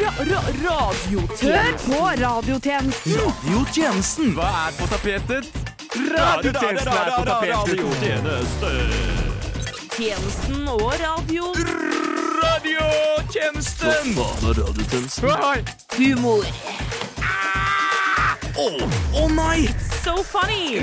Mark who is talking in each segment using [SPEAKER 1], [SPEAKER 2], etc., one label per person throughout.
[SPEAKER 1] ra, ra, radiotjenester.
[SPEAKER 2] Hør på radiotjenesten!
[SPEAKER 3] Radiotjenesten.
[SPEAKER 4] Hva er på tapetet?
[SPEAKER 3] Radiotjenesten er på tapetet.
[SPEAKER 1] Tjenesten og radio.
[SPEAKER 4] Radiotjenesten!
[SPEAKER 3] Faen er radiotjenesten.
[SPEAKER 4] Hei!
[SPEAKER 1] Humor.
[SPEAKER 3] Å å nei!
[SPEAKER 1] So funny.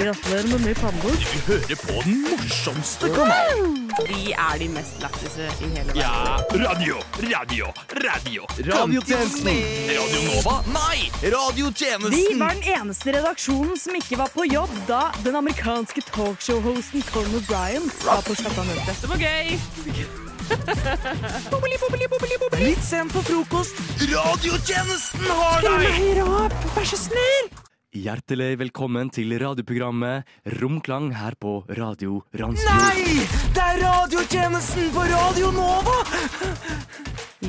[SPEAKER 2] Gratulerer med ny pannebok.
[SPEAKER 3] Vi hører på den morsomste kanalen.
[SPEAKER 1] Vi er de mest lættise i hele verden.
[SPEAKER 3] Ja, radio, radio, radio.
[SPEAKER 4] Radiotjenesten.
[SPEAKER 3] Radio Nova? Nei!
[SPEAKER 2] Vi
[SPEAKER 3] Radiotjenesten.
[SPEAKER 2] var den eneste redaksjonen som ikke var på jobb da den amerikanske talkshow-hosten Conor Bryan var på Chattanooga.
[SPEAKER 1] Det var gøy.
[SPEAKER 4] Litt sent på frokost.
[SPEAKER 3] Radiotjenesten har deg!
[SPEAKER 2] Høyere opp, vær så snill!
[SPEAKER 4] Hjertelig velkommen til radioprogrammet Romklang her på Radio Randsfjord.
[SPEAKER 3] Nei! Det er radiotjenesten på Radio Nova!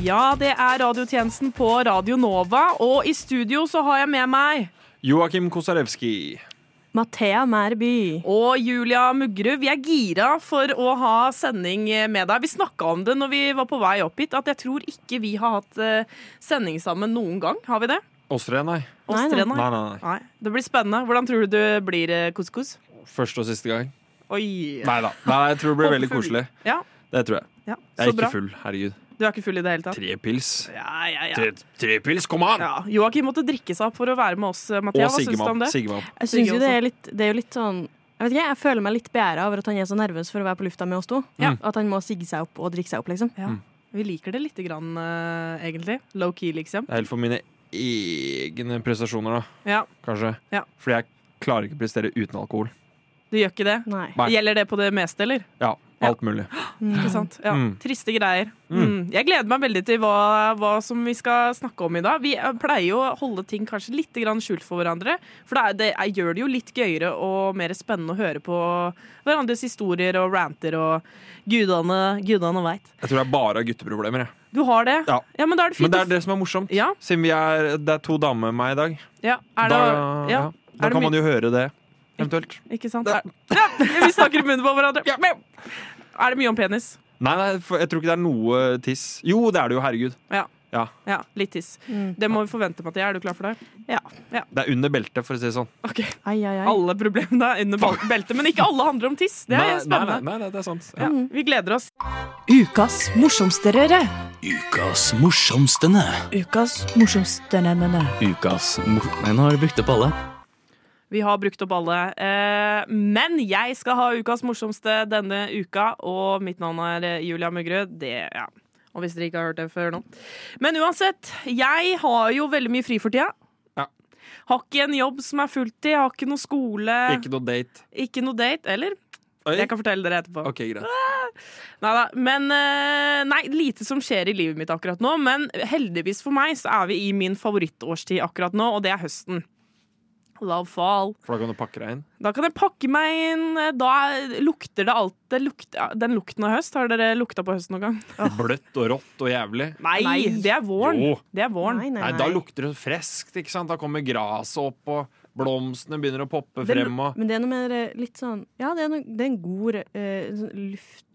[SPEAKER 1] Ja, det er radiotjenesten på Radio Nova, og i studio så har jeg med meg
[SPEAKER 5] Joakim Kosarewski.
[SPEAKER 2] Mathea Mærby.
[SPEAKER 1] og Julia Muggerud. Vi er gira for å ha sending med deg. Vi snakka om det når vi var på vei opp hit, at jeg tror ikke vi har hatt eh, sending sammen noen gang. Har vi det?
[SPEAKER 5] Oss tre, nei.
[SPEAKER 1] Oss
[SPEAKER 2] Nei, nei.
[SPEAKER 1] tre,
[SPEAKER 5] Nei, nei, nei.
[SPEAKER 1] Nei, Det blir spennende. Hvordan tror du det blir, eh, Couscous?
[SPEAKER 5] Første og siste gang.
[SPEAKER 1] Oi.
[SPEAKER 5] Nei da. Nei, jeg tror det blir veldig
[SPEAKER 1] Håpefull.
[SPEAKER 5] koselig.
[SPEAKER 1] Ja,
[SPEAKER 5] Det tror jeg.
[SPEAKER 1] ja.
[SPEAKER 5] Jeg
[SPEAKER 1] Så
[SPEAKER 5] er
[SPEAKER 1] bra.
[SPEAKER 5] ikke full. Herregud.
[SPEAKER 1] Du er ikke full i det hele tatt?
[SPEAKER 5] Tre pils.
[SPEAKER 1] Ja, ja, ja.
[SPEAKER 5] Tre, tre pils, kom an!
[SPEAKER 1] ja. Joakim måtte drikke seg opp for å være med oss, eh, Mathea.
[SPEAKER 5] Og
[SPEAKER 1] Hva syns du om
[SPEAKER 5] Sigmam.
[SPEAKER 1] det?
[SPEAKER 5] Sigmam.
[SPEAKER 6] Jeg synes jo det er, litt, det er jo litt sånn Jeg vet ikke, jeg føler meg litt beæra over at han er så nervøs for å være på lufta med oss to.
[SPEAKER 1] Ja.
[SPEAKER 6] At han må sigge seg opp og drikke seg opp, liksom.
[SPEAKER 1] Ja. Vi liker det lite grann, eh, egentlig. Low key, liksom.
[SPEAKER 5] Det er helt for mine egne prestasjoner, da.
[SPEAKER 1] Ja,
[SPEAKER 5] Kanskje.
[SPEAKER 1] Ja.
[SPEAKER 5] Fordi jeg klarer ikke å prestere uten alkohol.
[SPEAKER 1] Du gjør ikke det?
[SPEAKER 6] Nei.
[SPEAKER 5] Nei.
[SPEAKER 1] Gjelder det på det meste, eller?
[SPEAKER 5] Ja, alt mulig.
[SPEAKER 1] Ikke sant? Ja.
[SPEAKER 5] Mm.
[SPEAKER 1] Triste greier. Mm. Jeg gleder meg veldig til hva, hva som vi skal snakke om i dag. Vi eh, pleier jo å holde ting kanskje litt grann skjult for hverandre. For det, er, det er, gjør det jo litt gøyere og mer spennende å høre på hverandres historier og ranter og gudene, gudene veit.
[SPEAKER 5] Jeg tror det er bare gutteproblemer, jeg.
[SPEAKER 1] Du har det?
[SPEAKER 5] Ja.
[SPEAKER 1] men da er det
[SPEAKER 5] Men
[SPEAKER 1] fint.
[SPEAKER 5] det er det som er morsomt.
[SPEAKER 1] Ja,
[SPEAKER 5] Siden vi er, det er to damer med meg i dag,
[SPEAKER 1] ja. Er det,
[SPEAKER 5] da,
[SPEAKER 1] ja.
[SPEAKER 5] ja, da
[SPEAKER 1] Er det
[SPEAKER 5] kan
[SPEAKER 1] mye-
[SPEAKER 5] man jo høre det. Eventuelt.
[SPEAKER 1] Ikke sant? Er, ja, vi snakker i munnen på hverandre. Er det mye om penis?
[SPEAKER 5] Nei, nei, for jeg tror ikke det er noe tiss. Jo, det er det jo, herregud.
[SPEAKER 1] Ja.
[SPEAKER 5] Ja.
[SPEAKER 1] Ja, litt tiss. Det må vi forvente, Mathea. Er du klar for det?
[SPEAKER 5] Det er under beltet, for å si det sånn.
[SPEAKER 1] Ok,
[SPEAKER 6] Ai, ai, ai.
[SPEAKER 1] Alle problemene er under bel- beltet, men ikke alle handler om tiss. Det er spennende.
[SPEAKER 5] Nei, nei, nei, det er sant.
[SPEAKER 1] Ja, vi gleder oss.
[SPEAKER 2] Ukas morsomste røre.
[SPEAKER 3] Ukas morsomstene.
[SPEAKER 2] Ukas morsomste nennene.
[SPEAKER 4] Ukas mor... Nei, nå har du brukt opp alle.
[SPEAKER 1] Vi har brukt opp alle. Eh, men jeg skal ha ukas morsomste denne uka, og mitt navn er eh, Julia Muggerud. Det, ja. Og hvis dere ikke har hørt det før nå. Men uansett, jeg har jo veldig mye fri for tida.
[SPEAKER 5] Ja.
[SPEAKER 1] Har ikke en jobb som er fulltid, har ikke noe skole,
[SPEAKER 5] Ikke noe date.
[SPEAKER 1] ikke noe date. Eller?
[SPEAKER 5] Oi.
[SPEAKER 1] Jeg kan fortelle dere etterpå.
[SPEAKER 5] Ok, greit.
[SPEAKER 1] Neida, Men eh, Nei, lite som skjer i livet mitt akkurat nå. Men heldigvis for meg så er vi i min favorittårstid akkurat nå, og det er høsten. Love fall.
[SPEAKER 5] For da kan du pakke deg inn.
[SPEAKER 1] Da kan jeg pakke meg inn. Da lukter det alt det lukter, ja, Den lukten av høst. Har dere lukta på høst noen gang?
[SPEAKER 5] Bløtt og rått og jævlig.
[SPEAKER 1] Nei, det er våren.
[SPEAKER 5] Jo.
[SPEAKER 1] Det er våren.
[SPEAKER 6] Nei, nei,
[SPEAKER 5] Nei,
[SPEAKER 6] nei.
[SPEAKER 5] da lukter det freskt, ikke sant? Da kommer graset opp, og blomstene begynner å poppe
[SPEAKER 1] Det lu-
[SPEAKER 5] frem, og
[SPEAKER 6] Men det er noe mer eh, litt sånn Ja, det er, noe, det er en god eh, sånn luft,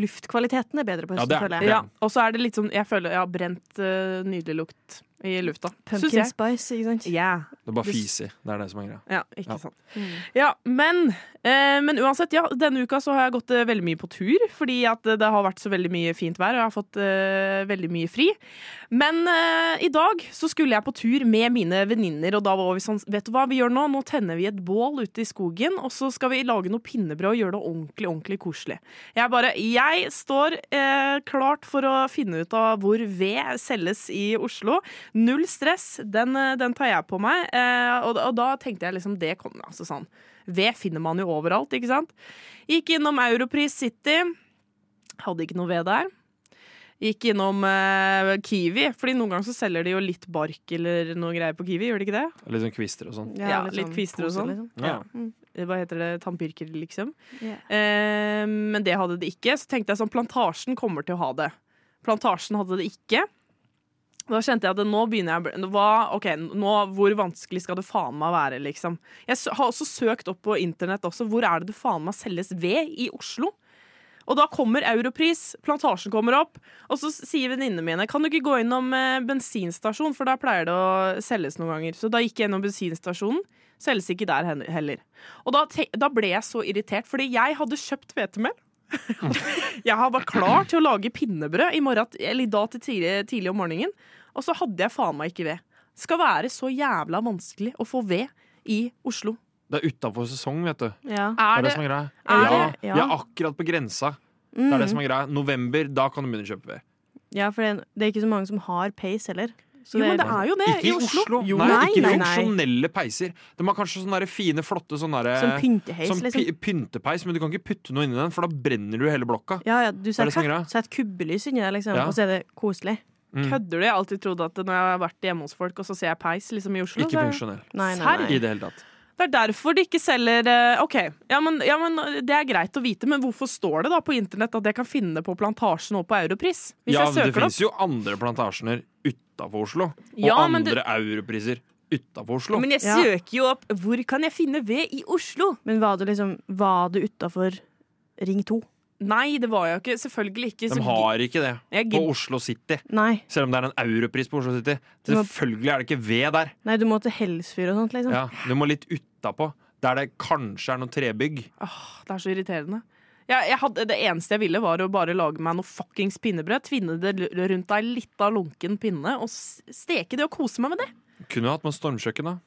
[SPEAKER 6] Luftkvaliteten er bedre på
[SPEAKER 5] Ja,
[SPEAKER 6] høsten,
[SPEAKER 5] det er-
[SPEAKER 6] føler jeg.
[SPEAKER 1] Ja, og så er det litt sånn Jeg føler jeg har brent eh, nydelig lukt i lufta. Syns
[SPEAKER 6] Pumpkin
[SPEAKER 1] jeg.
[SPEAKER 6] spice, ikke sant?
[SPEAKER 1] Yeah.
[SPEAKER 5] det bare fiser. Det er det som er greia.
[SPEAKER 1] Ja, ikke
[SPEAKER 5] Ja.
[SPEAKER 1] sant. Ja, men, eh, men uansett, ja, denne uka så har jeg gått eh, veldig mye på tur, fordi at eh, det har vært så veldig mye fint vær, og jeg har fått eh, veldig mye fri. Men eh, i dag så skulle jeg på tur med mine venninner, og da var vi sånn, vet du hva vi gjør nå? Nå tenner vi et bål ute i skogen, og så skal vi lage noe pinnebrød og gjøre det ordentlig, ordentlig koselig. Jeg bare, jeg står eh, klart for å finne ut av hvor ved selges i Oslo. Null stress, den, eh, den tar jeg på meg. Eh, og, og da tenkte jeg liksom, det kom altså sånn. Ved finner man jo overalt, ikke sant? Gikk innom Europris City. Hadde ikke noe ved der. Gikk innom eh, Kiwi, fordi noen ganger så selger de jo litt bark eller noe greier på Kiwi, gjør de ikke det?
[SPEAKER 5] Litt sånn kvister og sånn.
[SPEAKER 1] Ja, litt kvister og
[SPEAKER 6] pose,
[SPEAKER 1] sånn.
[SPEAKER 6] liksom.
[SPEAKER 5] Ja.
[SPEAKER 1] Hva heter det? Tannpirker, liksom.
[SPEAKER 6] Ja.
[SPEAKER 1] Eh, men det hadde det ikke. Så tenkte jeg sånn, plantasjen kommer til å ha det. Plantasjen hadde det ikke. Da kjente jeg at nå begynner jeg å bli- hva, Ok, nå, hvor vanskelig skal det faen meg være, liksom? Jeg sø- har også søkt opp på internett også. Hvor er det det faen meg selges ved i Oslo? Og da kommer Europris, plantasjen kommer opp, og så sier venninnene mine kan du ikke gå innom eh, bensinstasjon, for der pleier det å selges noen ganger. Så da gikk jeg innom bensinstasjonen. Selges ikke der hen- heller. Og da, te da ble jeg så irritert, fordi jeg hadde kjøpt hvetemel. jeg har vært klar til å lage pinnebrød i, morgen, eller i dag til tidlig, tidlig om morgenen, og så hadde jeg faen meg ikke ved. Skal være så jævla vanskelig å få ved i Oslo.
[SPEAKER 5] Det er utafor sesong, vet du. Det
[SPEAKER 6] Ja.
[SPEAKER 5] er
[SPEAKER 1] Er
[SPEAKER 5] det,
[SPEAKER 1] det,
[SPEAKER 5] som er greia.
[SPEAKER 1] er
[SPEAKER 5] ja,
[SPEAKER 6] det- ja.
[SPEAKER 5] Vi er akkurat på grensa. Det er det som er greia. November, da kan du begynne å kjøpe ved.
[SPEAKER 6] ja, for det, det er ikke så mange som har peis heller.
[SPEAKER 1] jo,
[SPEAKER 6] Så
[SPEAKER 1] men det er jo det
[SPEAKER 5] Ikke i Oslo.
[SPEAKER 1] Eh, Jo,
[SPEAKER 5] Nei,
[SPEAKER 6] Nei,
[SPEAKER 5] ikke
[SPEAKER 6] nei, nei.
[SPEAKER 5] funksjonelle peiser. De har kanskje sånne der fine, flotte sånne der,
[SPEAKER 6] Som pynteheis,
[SPEAKER 5] Eh, som
[SPEAKER 6] liksom.
[SPEAKER 5] py- pyntepeis, men du kan ikke putte noe inni den, for da brenner du hele blokka.
[SPEAKER 6] Ja, ja, du
[SPEAKER 5] det som er
[SPEAKER 6] setter
[SPEAKER 5] greia?
[SPEAKER 6] setter kubbelys inni der, liksom,
[SPEAKER 5] Ja.
[SPEAKER 6] og så er det koselig.
[SPEAKER 1] Kødder du? Jeg har alltid trodd at når jeg har vært hjemme hos folk, og så ser jeg peis liksom i Oslo.
[SPEAKER 5] Ikke
[SPEAKER 1] så er-
[SPEAKER 5] funksjonell
[SPEAKER 6] Nei, nei,
[SPEAKER 1] Serr?
[SPEAKER 5] i
[SPEAKER 6] nei.
[SPEAKER 5] det hele tatt.
[SPEAKER 1] det er derfor de ikke selger eh, OK, ja men, ja, men det er greit å vite, men hvorfor står det da på internett at jeg kan finne det på Plantasjen og på Europris? Hvis jeg
[SPEAKER 5] Ja, men
[SPEAKER 1] søker det
[SPEAKER 5] det finnes
[SPEAKER 1] opp?
[SPEAKER 5] jo andre plantasjener utafor Oslo. Og
[SPEAKER 1] Ja, men det-
[SPEAKER 5] andre europriser utafor Oslo.
[SPEAKER 1] Men jeg
[SPEAKER 6] Ja.
[SPEAKER 1] søker jo opp 'Hvor kan jeg finne ved i Oslo?'
[SPEAKER 6] Men var du liksom Var du utafor Ring 2?
[SPEAKER 1] Nei, det var jeg jo ikke. Selvfølgelig ikke.
[SPEAKER 5] De
[SPEAKER 1] Så
[SPEAKER 5] har ikke det
[SPEAKER 1] Jeg
[SPEAKER 5] på
[SPEAKER 1] gid-
[SPEAKER 5] Oslo City.
[SPEAKER 6] Nei.
[SPEAKER 5] Selv om det er en europris på Oslo City.
[SPEAKER 6] Du må-
[SPEAKER 5] Selvfølgelig er det ikke ved der.
[SPEAKER 6] Nei, du må til Helsfyr og sånt, liksom.
[SPEAKER 5] Ja, du må litt utapå. Der det kanskje er noe trebygg.
[SPEAKER 1] Åh, det er så irriterende. Jeg, jeg hadde, det eneste jeg ville, var å bare lage meg noe fuckings pinnebrød. Tvinne det l- rundt ei lita lunken pinne og s- steke det og kose meg med det.
[SPEAKER 5] Kunne jo hatt med stormkjøkken, da.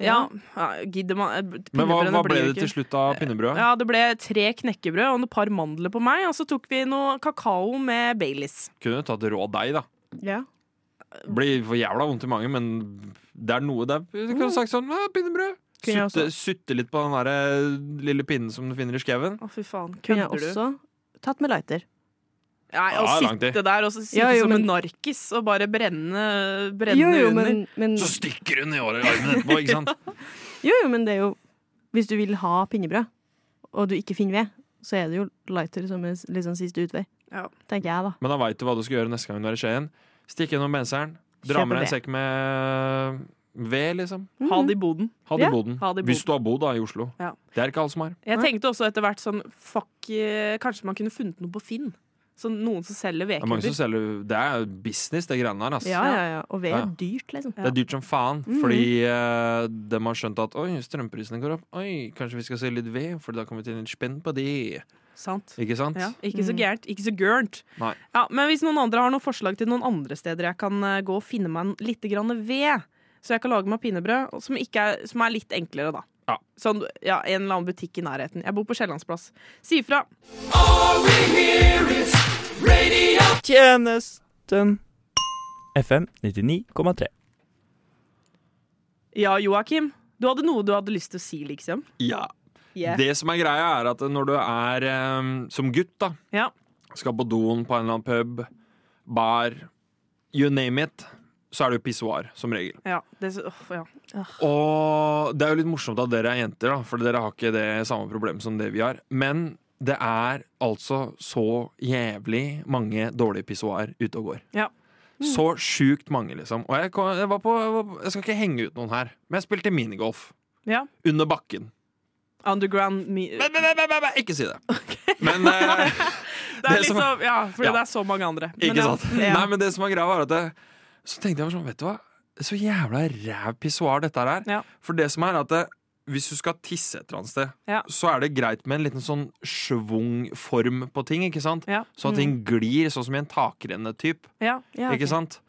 [SPEAKER 1] Ja, ja gidder man
[SPEAKER 5] Men hva,
[SPEAKER 1] pinnebrødene
[SPEAKER 5] hva
[SPEAKER 1] blir
[SPEAKER 5] ble
[SPEAKER 1] jo
[SPEAKER 5] det
[SPEAKER 1] ikke-
[SPEAKER 5] til slutt av pinnebrødet?
[SPEAKER 1] Ja, det ble tre knekkebrød og et par mandler på meg, og så tok vi noe kakao med Baileys.
[SPEAKER 5] Kunne jo tatt rå deig, da.
[SPEAKER 6] Ja.
[SPEAKER 5] Blir for jævla vondt i magen, men det er noe der. Du kunne sagt sånn «Ja, pinnebrød.
[SPEAKER 6] Kunne jeg
[SPEAKER 5] Sutte, sutte litt på den der eh, lille pinnen som du finner i skauen.
[SPEAKER 1] Å, fy faen.
[SPEAKER 6] Kunne jeg
[SPEAKER 1] Kødder du?
[SPEAKER 6] også tatt med lighter.
[SPEAKER 1] Nei, å
[SPEAKER 5] Ja, langt i.
[SPEAKER 1] sitte der og så sitte
[SPEAKER 6] Ja, jo,
[SPEAKER 1] som
[SPEAKER 6] men-
[SPEAKER 1] en narkis og bare brenne, brenne
[SPEAKER 6] Jo, jo,
[SPEAKER 1] under.
[SPEAKER 6] men, men,
[SPEAKER 5] Så stikker hun i året armen etterpå, ikke sant?
[SPEAKER 6] jo, jo, men det er jo Hvis du vil ha pinnebrød, og du ikke finner ved, så er det jo lighter som er s- liksom siste utvei.
[SPEAKER 1] Ja.
[SPEAKER 6] Tenker jeg, da.
[SPEAKER 5] Men da veit du hva du skal gjøre neste gang du er i Skien. Stikk gjennom benseren. Dra
[SPEAKER 6] Kjøpe
[SPEAKER 5] med deg
[SPEAKER 6] ved.
[SPEAKER 5] en sekk med eh, ved, liksom.
[SPEAKER 1] Ha det i boden.
[SPEAKER 5] Ha det
[SPEAKER 6] Ja,
[SPEAKER 5] i boden.
[SPEAKER 1] ha det i
[SPEAKER 5] Hvis du har bodd da i Oslo.
[SPEAKER 1] Ja.
[SPEAKER 5] Det er ikke alle som har.
[SPEAKER 1] Jeg
[SPEAKER 6] Nei.
[SPEAKER 1] tenkte også etter hvert sånn Fuck, eh, kanskje man kunne funnet noe på Finn. Sånn noen som selger
[SPEAKER 5] Det er mange som
[SPEAKER 1] vedklubber.
[SPEAKER 5] selger Det er business, det greiene der. Altså.
[SPEAKER 6] Ja, ja, ja. Og ved
[SPEAKER 5] Ja,
[SPEAKER 6] er
[SPEAKER 5] ja.
[SPEAKER 6] dyrt, liksom.
[SPEAKER 5] Det er dyrt som faen, fordi eh, de har skjønt at Oi, strømprisene går opp. Oi, kanskje vi skal se litt ved, for da kan vi tjene litt spenn på det.
[SPEAKER 1] Sant.
[SPEAKER 5] Ikke sant?
[SPEAKER 1] Ja, ikke så gærent. Ikke så gørnt.
[SPEAKER 5] Nei.
[SPEAKER 1] Ja, men hvis noen andre har noen forslag til noen andre steder jeg kan eh, gå og finne meg en- litt grann ved, så jeg kan lage meg pinnebrød, og som, ikke er, som er litt enklere, da.
[SPEAKER 5] Ja.
[SPEAKER 1] Sånn, ja, En eller annen butikk i nærheten. Jeg bor på Kiellandsplass. Si ifra.
[SPEAKER 7] Tjenesten. FM 99,3.
[SPEAKER 1] Ja, Joakim. Du hadde noe du hadde lyst til å si, liksom.
[SPEAKER 5] Ja.
[SPEAKER 1] Yeah.
[SPEAKER 5] Det som er greia, er at når du er eh, som gutt, da,
[SPEAKER 1] Ja.
[SPEAKER 5] skal på doen på en eller annen pub, bar, you name it, så er det jo pissoar, som regel.
[SPEAKER 1] Ja, det, så- åh, ja.
[SPEAKER 5] Og det er jo litt morsomt at dere er jenter, da, for dere har ikke det samme problemet som det vi har. Men det er altså så jævlig mange dårlige pissoar ute og går.
[SPEAKER 1] Ja. Mm.
[SPEAKER 5] Så sjukt mange, liksom. Og jeg, kom, jeg, var på, jeg, var, jeg skal ikke henge ut noen her, men jeg spilte minigolf.
[SPEAKER 1] Ja.
[SPEAKER 5] Under bakken.
[SPEAKER 1] Underground me
[SPEAKER 5] Bæ, bæ, bæ, bæ, bæ, bæ, Ikke si det! Men eh,
[SPEAKER 1] Det er
[SPEAKER 5] Det som-
[SPEAKER 1] liksom, ja, fordi
[SPEAKER 5] Ja.
[SPEAKER 1] det er så mange andre. Men
[SPEAKER 5] Ikke
[SPEAKER 1] ja,
[SPEAKER 5] sant? Nei, men det som er greia, var at jeg, Så tenkte jeg bare sånn, vet du hva? Så jævla ræv pissoar dette her er.
[SPEAKER 1] Ja.
[SPEAKER 5] For det som er at det, hvis du skal tisse et eller annet sted,
[SPEAKER 1] Ja.
[SPEAKER 5] så er det greit med en liten sånn schwung-form på ting, ikke sant?
[SPEAKER 1] Ja. Mm.
[SPEAKER 5] Så at ting glir, sånn som i en takrenne-typ,
[SPEAKER 1] Ja.
[SPEAKER 6] Ja, ok.
[SPEAKER 5] ikke sant?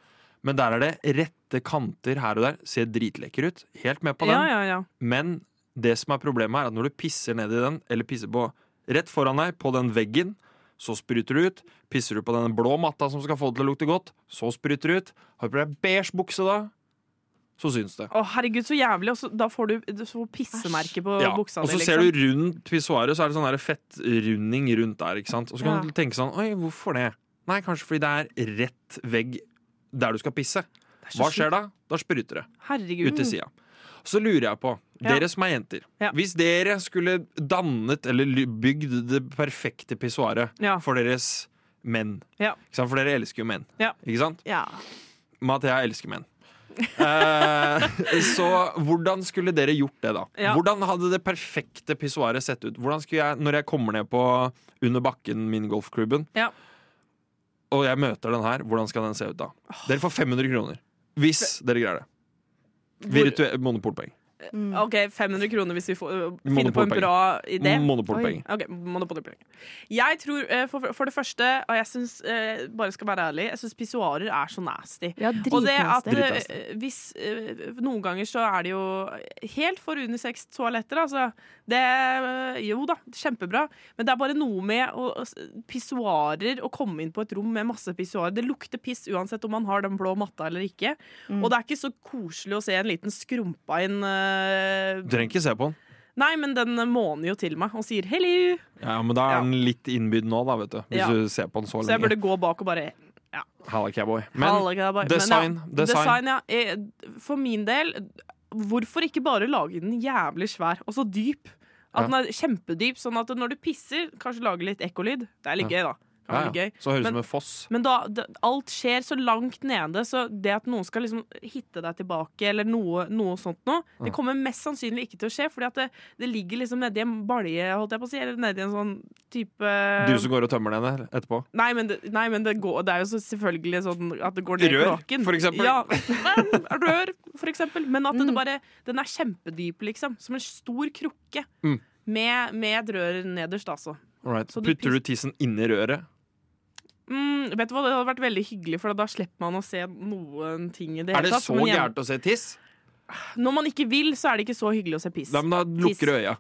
[SPEAKER 5] Men der er det rette kanter her og der. Ser dritlekker ut. Helt med på den.
[SPEAKER 1] ja, ja, ja.
[SPEAKER 5] Men det som er problemet er at når du pisser ned i den, eller pisser på rett foran deg, på den veggen, så spruter du ut. Pisser du på den blå matta som skal få det til å lukte godt, så spruter du ut. Har du på deg beige bukse da, så syns det.
[SPEAKER 1] Å, herregud, så jævlig. Og så, da får du, du får pissemerke på
[SPEAKER 5] Ja. Og
[SPEAKER 1] buksa
[SPEAKER 5] så
[SPEAKER 1] di.
[SPEAKER 5] ser
[SPEAKER 1] Liksom.
[SPEAKER 5] du rundt pissoaret, så er det sånn der fettrunding rundt der. ikke sant? Og så kan du tenke sånn Oi, hvorfor det? Nei, kanskje fordi det er rett vegg der du skal pisse.
[SPEAKER 1] Det er så
[SPEAKER 5] Hva skjer da? Da spruter det.
[SPEAKER 1] Herregud.
[SPEAKER 5] ut til sida. Så lurer jeg på,
[SPEAKER 1] Mm. Ja.
[SPEAKER 5] dere som er jenter
[SPEAKER 1] Ja.
[SPEAKER 5] Hvis dere skulle dannet eller ly- bygd det perfekte pissoaret
[SPEAKER 1] Ja.
[SPEAKER 5] for deres menn
[SPEAKER 1] Ja.
[SPEAKER 5] ikke sant? For dere elsker jo menn,
[SPEAKER 1] Ja.
[SPEAKER 5] ikke sant?
[SPEAKER 6] Ja.
[SPEAKER 5] Mathea elsker menn. Eh, så hvordan skulle dere gjort det, da?
[SPEAKER 1] Ja.
[SPEAKER 5] Hvordan hadde det perfekte pissoaret sett ut? Hvordan skulle jeg, Når jeg kommer ned på under bakken, minigolfklubben.
[SPEAKER 1] Ja.
[SPEAKER 5] Og jeg møter den her. Hvordan skal den se ut da? Dere får 500 kroner. Hvis dere greier det. Virtuelle monopolpoeng.
[SPEAKER 6] Mm.
[SPEAKER 1] OK, 500 kroner hvis vi får, øh, finner på en
[SPEAKER 5] Monopolpenger.
[SPEAKER 1] bra idé.
[SPEAKER 5] Monopolpoeng.
[SPEAKER 1] Ok, monopolpoeng. Jeg tror, eh, for, for det første, og jeg syns eh, Bare skal være ærlig, jeg syns pissoarer er så nasty.
[SPEAKER 6] Ja,
[SPEAKER 1] Og det at
[SPEAKER 6] dritnasty.
[SPEAKER 1] eh, hvis eh, Noen ganger så er det jo helt for unisex toaletter, altså. Det eh, Jo da, kjempebra. Men det er bare noe med å, å s- pissoarer, å komme inn på et rom med masse pissoarer. Det lukter piss uansett om man har den blå matta eller ikke.
[SPEAKER 6] Mm.
[SPEAKER 1] Og det er ikke så koselig å se en liten skrumpa inn eh,
[SPEAKER 5] Du trenger ikke se på den.
[SPEAKER 1] Nei, men den måner jo til meg og sier 'hello'.
[SPEAKER 5] Ja, men da
[SPEAKER 1] Ja.
[SPEAKER 5] er den litt innbydd nå, da, vet du. Hvis
[SPEAKER 1] Ja.
[SPEAKER 5] du ser på den så
[SPEAKER 1] Så jeg
[SPEAKER 5] lenge.
[SPEAKER 1] burde gå bak og bare
[SPEAKER 5] Halla, cowboy. Men
[SPEAKER 1] Halla, grabbar. Men
[SPEAKER 5] design.
[SPEAKER 1] ja,
[SPEAKER 5] Design.
[SPEAKER 1] design ja. Eh, For min del, hvorfor ikke bare lage den jævlig svær og så dyp? At
[SPEAKER 5] Ja.
[SPEAKER 1] den er kjempedyp, sånn at når du pisser, kanskje lager litt ekkolyd. Det er litt gøy, da. Det
[SPEAKER 5] Ja,
[SPEAKER 1] er litt
[SPEAKER 5] ja.
[SPEAKER 1] gøy.
[SPEAKER 5] Så høres det
[SPEAKER 1] Men-
[SPEAKER 5] ut som en foss.
[SPEAKER 1] Men da, d- alt skjer så langt nede, så det at noen skal liksom hitte deg tilbake, eller noe, noe sånt noe, det kommer mest sannsynlig ikke til å skje, fordi at det, det ligger liksom nedi en balje, holdt jeg på å si, eller nedi en sånn type
[SPEAKER 5] Du som går og tømmer den her etterpå.
[SPEAKER 1] Nei, men, det, nei, men det, går, det er jo så selvfølgelig sånn at det går ned i
[SPEAKER 5] Rør,
[SPEAKER 1] kloakken.
[SPEAKER 5] for eksempel.
[SPEAKER 1] Ja, men, rør, for eksempel. Men at det bare, den er kjempedyp, liksom. Som en stor krukke.
[SPEAKER 5] Mm.
[SPEAKER 1] Med, med et rør nederst, altså.
[SPEAKER 5] All right.
[SPEAKER 1] Så du
[SPEAKER 5] Putter du tissen inni røret?
[SPEAKER 1] Mm, vet du hva, Det hadde vært veldig hyggelig, for da slipper man å se noen ting. i det
[SPEAKER 5] Er
[SPEAKER 1] hele
[SPEAKER 5] det
[SPEAKER 1] tatt
[SPEAKER 5] så
[SPEAKER 1] men igjen,
[SPEAKER 5] gærent å se tiss?
[SPEAKER 1] Når man ikke vil, så er det ikke så hyggelig å se piss.
[SPEAKER 5] Nei, men da lukker du øya.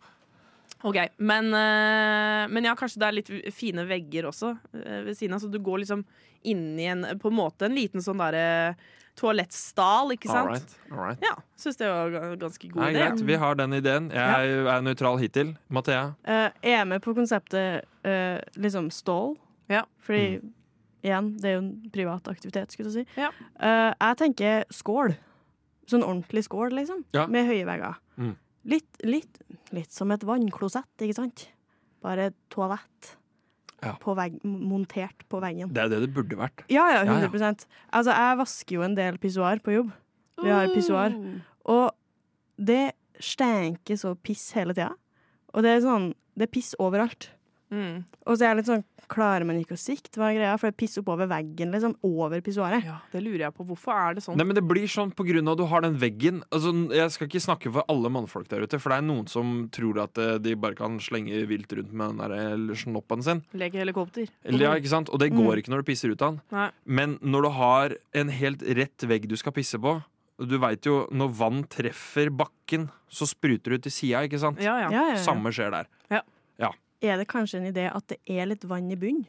[SPEAKER 1] Ok, men, eh, men ja, kanskje det er litt fine vegger også eh, ved siden av, så du går liksom inn i en, på en måte, en liten sånn der eh, toalettstall, ikke sant?
[SPEAKER 5] All right. All right.
[SPEAKER 1] Ja, synes det var ga- ganske god
[SPEAKER 5] Nei,
[SPEAKER 1] idé.
[SPEAKER 5] greit, vi har den ideen. Jeg er nøytral hittil. Mathea?
[SPEAKER 6] Eh, jeg er med på konseptet eh, liksom stål.
[SPEAKER 1] Ja.
[SPEAKER 6] Fordi
[SPEAKER 5] Mm.
[SPEAKER 6] igjen, det er jo en privat aktivitet, skulle jeg si.
[SPEAKER 1] Ja.
[SPEAKER 6] Eh, jeg tenker skål. Sånn ordentlig skål, liksom.
[SPEAKER 5] Ja.
[SPEAKER 6] Med høye vegger.
[SPEAKER 5] Mm.
[SPEAKER 6] Litt, litt, litt som et vannklosett, ikke sant? Bare toalett
[SPEAKER 5] Ja.
[SPEAKER 6] på vegg, montert på veggen.
[SPEAKER 5] Det er det det burde vært.
[SPEAKER 6] Ja, ja,
[SPEAKER 5] Ja, ja.
[SPEAKER 6] 100 Altså, jeg vasker jo en del pissoar på jobb.
[SPEAKER 1] Mm.
[SPEAKER 6] Vi har pissoar. Og det stenker så piss hele tida. Og det er sånn Det er piss overalt.
[SPEAKER 1] Mm.
[SPEAKER 6] Og så er jeg litt sånn Klarer man ikke å sikte? Hva er greia? For det er piss oppover veggen, liksom. Over pissoaret.
[SPEAKER 1] Ja, det lurer jeg på. Hvorfor er det sånn?
[SPEAKER 5] Nei, men Det blir sånn på grunn av at du har den veggen. Altså, jeg skal ikke snakke for alle mannfolk der ute, for det er noen som tror at eh, de bare kan slenge vilt rundt med den der eh, snoppen sin.
[SPEAKER 1] Leke helikopter.
[SPEAKER 5] Eller,
[SPEAKER 6] Mhm.
[SPEAKER 5] ja, ikke sant? Og det går ikke når du pisser ut av den.
[SPEAKER 1] Nei.
[SPEAKER 5] Men når du har en helt rett vegg du skal pisse på og Du veit jo, når vann treffer bakken, så spruter det ut til sida, ikke sant?
[SPEAKER 1] Ja, ja.
[SPEAKER 6] Ja, ja, ja.
[SPEAKER 5] Samme skjer der.
[SPEAKER 6] Er det kanskje en idé at det er litt vann i bunnen?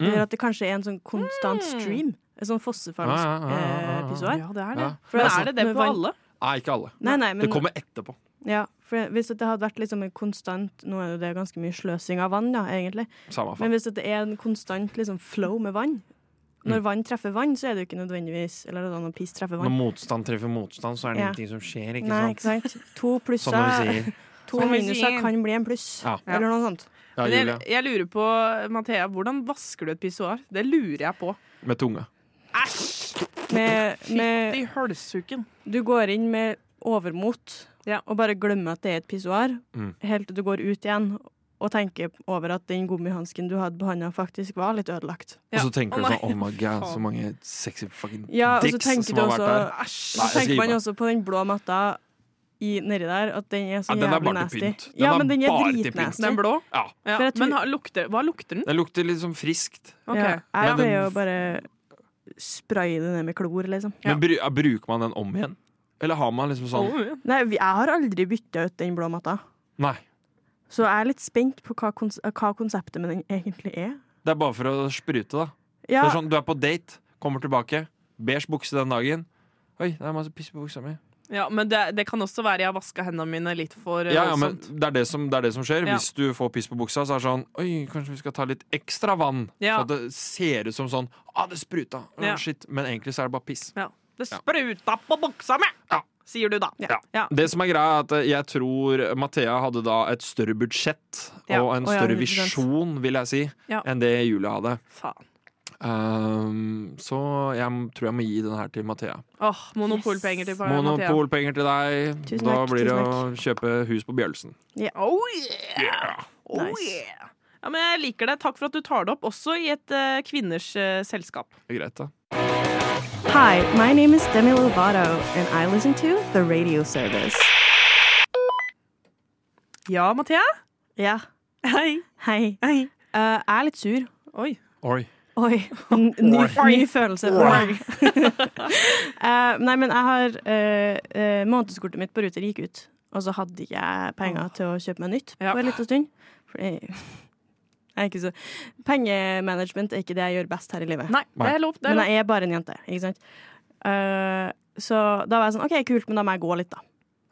[SPEAKER 5] Mm.
[SPEAKER 6] Eller at det kanskje er en sånn konstant stream? En sånn fossefallspissoar?
[SPEAKER 5] Ja, ja, ja, ja, ja.
[SPEAKER 6] Eh, pissoar?
[SPEAKER 1] Ja, det er det.
[SPEAKER 5] Ja.
[SPEAKER 6] For
[SPEAKER 1] Men
[SPEAKER 6] det er
[SPEAKER 1] er det
[SPEAKER 6] sånn
[SPEAKER 1] det
[SPEAKER 6] med
[SPEAKER 1] på
[SPEAKER 6] vann.
[SPEAKER 1] alle?
[SPEAKER 5] Nei, ikke alle.
[SPEAKER 6] Nei, nei, men
[SPEAKER 5] altså, Det kommer etterpå.
[SPEAKER 6] ja, for Hvis det hadde vært liksom en konstant Nå er jo det ganske mye sløsing av vann, da, egentlig.
[SPEAKER 5] Samme faen.
[SPEAKER 6] Men hvis det er en konstant liksom, flow med vann
[SPEAKER 5] Mm.
[SPEAKER 6] Når vann treffer vann, så er det jo ikke nødvendigvis Eller da, når piss treffer
[SPEAKER 5] Når
[SPEAKER 6] vann.
[SPEAKER 5] motstand treffer motstand, så er det
[SPEAKER 6] Ja.
[SPEAKER 5] ingenting som skjer, ikke
[SPEAKER 6] Nei,
[SPEAKER 5] sant?
[SPEAKER 6] ikke sant? To
[SPEAKER 5] Som du
[SPEAKER 6] plusser
[SPEAKER 5] sier.
[SPEAKER 6] To
[SPEAKER 1] Som vi
[SPEAKER 6] minuser
[SPEAKER 1] sier.
[SPEAKER 6] kan bli en pluss.
[SPEAKER 5] Ja.
[SPEAKER 6] Eller noe sånt.
[SPEAKER 5] Ja,
[SPEAKER 1] Men
[SPEAKER 5] Julia.
[SPEAKER 1] jeg, jeg lurer på, Mathea, hvordan vasker du et pissoar? Det lurer jeg på.
[SPEAKER 5] Med tunga.
[SPEAKER 6] Med, med,
[SPEAKER 1] I hølsuken.
[SPEAKER 6] du går inn med overmot
[SPEAKER 1] Ja.
[SPEAKER 6] og bare glemmer at det er et pissoar,
[SPEAKER 5] Mm.
[SPEAKER 6] helt til du går ut igjen og tenker over at den gummihansken du hadde på handa, faktisk var litt ødelagt.
[SPEAKER 1] Ja.
[SPEAKER 5] Og så tenker
[SPEAKER 1] Å,
[SPEAKER 5] du
[SPEAKER 1] nei.
[SPEAKER 5] sånn Oh my god,
[SPEAKER 1] Faen.
[SPEAKER 5] så mange sexy fucking
[SPEAKER 6] Ja, og så
[SPEAKER 5] dicks
[SPEAKER 6] tenker
[SPEAKER 5] som
[SPEAKER 6] du
[SPEAKER 5] har
[SPEAKER 6] også
[SPEAKER 5] vært der.
[SPEAKER 1] Æsj.
[SPEAKER 5] Nei,
[SPEAKER 6] Så
[SPEAKER 5] jeg
[SPEAKER 6] tenker
[SPEAKER 5] skal gi
[SPEAKER 6] man
[SPEAKER 5] meg.
[SPEAKER 6] også på den blå matta i, nedi der, at den er så
[SPEAKER 5] Ja, den er
[SPEAKER 6] jævlig
[SPEAKER 5] bare til
[SPEAKER 6] nasty.
[SPEAKER 5] pynt. Den
[SPEAKER 6] ja,
[SPEAKER 5] er
[SPEAKER 6] men den er
[SPEAKER 5] bare til pynt.
[SPEAKER 6] dritnasty.
[SPEAKER 1] Den blå?
[SPEAKER 5] Ja.
[SPEAKER 1] Ja.
[SPEAKER 6] For jeg tror-
[SPEAKER 1] Men har- lukter, hva lukter den?
[SPEAKER 5] Det lukter litt sånn friskt.
[SPEAKER 1] Ok.
[SPEAKER 6] Ja,
[SPEAKER 5] Men
[SPEAKER 6] jeg
[SPEAKER 5] den-
[SPEAKER 6] pleier jo bare spraye det ned med klor, liksom.
[SPEAKER 5] Men bru- ja, bruker man den om igjen? Eller har man liksom sånn
[SPEAKER 1] Å,
[SPEAKER 6] Nei, vi- jeg har aldri bytta ut den blå matta.
[SPEAKER 5] Nei.
[SPEAKER 6] Så jeg er litt spent på hva, kons hva konseptet med den egentlig er.
[SPEAKER 5] Det er bare for å sprute, da.
[SPEAKER 6] Ja,
[SPEAKER 5] Det er sånn, Du er på date, kommer tilbake, beige bukse den dagen. Oi, det er masse piss på buksa mi.
[SPEAKER 1] Ja, men det, det kan også være jeg har vaska hendene mine litt for eh, sånn.
[SPEAKER 5] Ja, ja, men
[SPEAKER 1] voldsomt.
[SPEAKER 5] det er det, som, det er det som skjer.
[SPEAKER 1] Ja.
[SPEAKER 5] Hvis du får piss på buksa, så er det sånn Oi, kanskje vi skal ta litt ekstra vann.
[SPEAKER 1] Ja.
[SPEAKER 5] Så det ser ut som sånn Ah, det spruta! Å,
[SPEAKER 1] Ja.
[SPEAKER 5] shit. Men egentlig så er det bare piss.
[SPEAKER 1] Ja. Det spruta på buksa mi!
[SPEAKER 5] Ja.
[SPEAKER 1] Sier du da.
[SPEAKER 5] Ja. Det som er greia, er at eh, jeg tror Mathea hadde da et større budsjett
[SPEAKER 1] Ja.
[SPEAKER 5] og en
[SPEAKER 6] Å, ja,
[SPEAKER 5] større
[SPEAKER 6] 100%.
[SPEAKER 5] visjon, vil jeg si,
[SPEAKER 1] Ja.
[SPEAKER 5] enn det Julie hadde.
[SPEAKER 1] Faen.
[SPEAKER 5] Um, så jeg m- tror jeg må gi den her til Mathea.
[SPEAKER 1] Åh, monopolpenger til Mathea.
[SPEAKER 5] Monopolpenger til deg.
[SPEAKER 6] Tusen
[SPEAKER 5] da
[SPEAKER 6] takk,
[SPEAKER 5] blir det å
[SPEAKER 6] tusen
[SPEAKER 5] kjøpe hus på Bjølsen.
[SPEAKER 1] Oh yeah! Oh
[SPEAKER 6] Nice.
[SPEAKER 1] yeah! Ja, men jeg liker det. Takk for at du tar det opp, også i et eh, kvinners eh, selskap.
[SPEAKER 5] Det er greit, da.
[SPEAKER 6] Hi, my name is Demi Lovato, and I listen to The Radio Service.
[SPEAKER 1] Ja, Mathea?
[SPEAKER 6] Ja,
[SPEAKER 1] Hei.
[SPEAKER 6] hei.
[SPEAKER 1] Hei.
[SPEAKER 6] Eh, jeg er litt sur.
[SPEAKER 1] Oi.
[SPEAKER 5] Oi.
[SPEAKER 6] Oi. N ny, ny følelse. Eh, nei, men jeg har eh, eh, Månedskortet mitt på Ruter gikk ut, og så hadde ikke jeg penger til å kjøpe meg nytt
[SPEAKER 1] Ja.
[SPEAKER 6] på en liten stund. Fordi jeg er ikke så Pengemanagement er ikke det jeg gjør best her i livet.
[SPEAKER 1] Nei, det er lov. Det er
[SPEAKER 6] Men
[SPEAKER 1] lov.
[SPEAKER 6] jeg er bare en jente, ikke sant. Eh, så da var jeg sånn OK, kult, men da må jeg gå litt, da.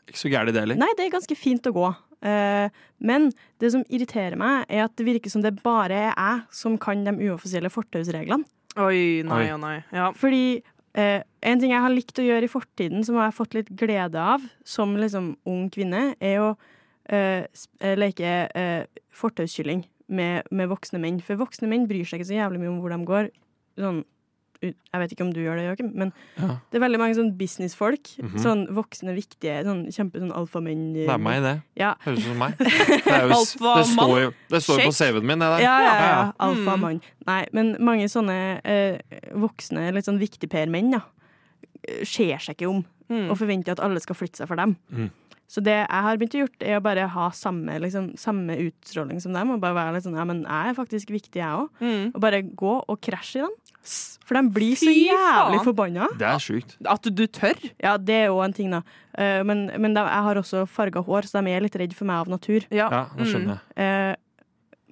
[SPEAKER 5] Ikke så gærent, det heller.
[SPEAKER 6] Nei, det er ganske fint å gå. Eh, men det som irriterer meg, er at det virker som det bare er jeg som kan de uoffisielle fortausreglene.
[SPEAKER 1] Oi, nei
[SPEAKER 5] Oi.
[SPEAKER 1] og nei. Ja.
[SPEAKER 6] Fordi eh, en ting jeg har likt å gjøre i fortiden, som jeg har fått litt glede av som liksom ung kvinne, er å eh, sp- eh, leke eh, fortauskylling med, med voksne menn. For voksne menn bryr seg ikke så jævlig mye om hvor de går. Sånn, ut- jeg vet ikke om du gjør det, Joakim, men
[SPEAKER 5] Ja.
[SPEAKER 6] det er veldig mange sånn businessfolk.
[SPEAKER 5] Mhm.
[SPEAKER 6] Sånn voksne, viktige, sånn kjempe sånn alfamenn.
[SPEAKER 5] Det er meg, det.
[SPEAKER 6] Ja.
[SPEAKER 5] Høres ut som meg. Det, er jo,
[SPEAKER 1] Alfa
[SPEAKER 5] det står jo, det står jo på
[SPEAKER 1] Shake.
[SPEAKER 5] CV-en min, det der.
[SPEAKER 6] Ja, ja, ja.
[SPEAKER 5] Ja, ja.
[SPEAKER 6] Alfa mann. Nei, men mange sånne eh, voksne, litt sånn viktigper-menn, da, eh, ser seg ikke om
[SPEAKER 1] Mm.
[SPEAKER 6] og forventer at alle skal flytte seg for dem.
[SPEAKER 5] Mm.
[SPEAKER 6] Så det jeg har begynt å gjøre, er å bare ha samme, liksom, samme utstråling som dem, og bare være litt sånn ja, men jeg er faktisk viktig, jeg òg.
[SPEAKER 1] Mm.
[SPEAKER 6] Og bare gå og krasje i dem. For de blir så
[SPEAKER 1] Fy
[SPEAKER 6] jævlig
[SPEAKER 1] faen.
[SPEAKER 6] forbanna.
[SPEAKER 5] Det er sjukt.
[SPEAKER 1] At du tør?
[SPEAKER 6] Ja, det er jo en ting, da. Eh, men men da, jeg har også farga hår, så de er litt redd for meg av natur.
[SPEAKER 5] Ja, nå skjønner jeg.
[SPEAKER 6] Eh,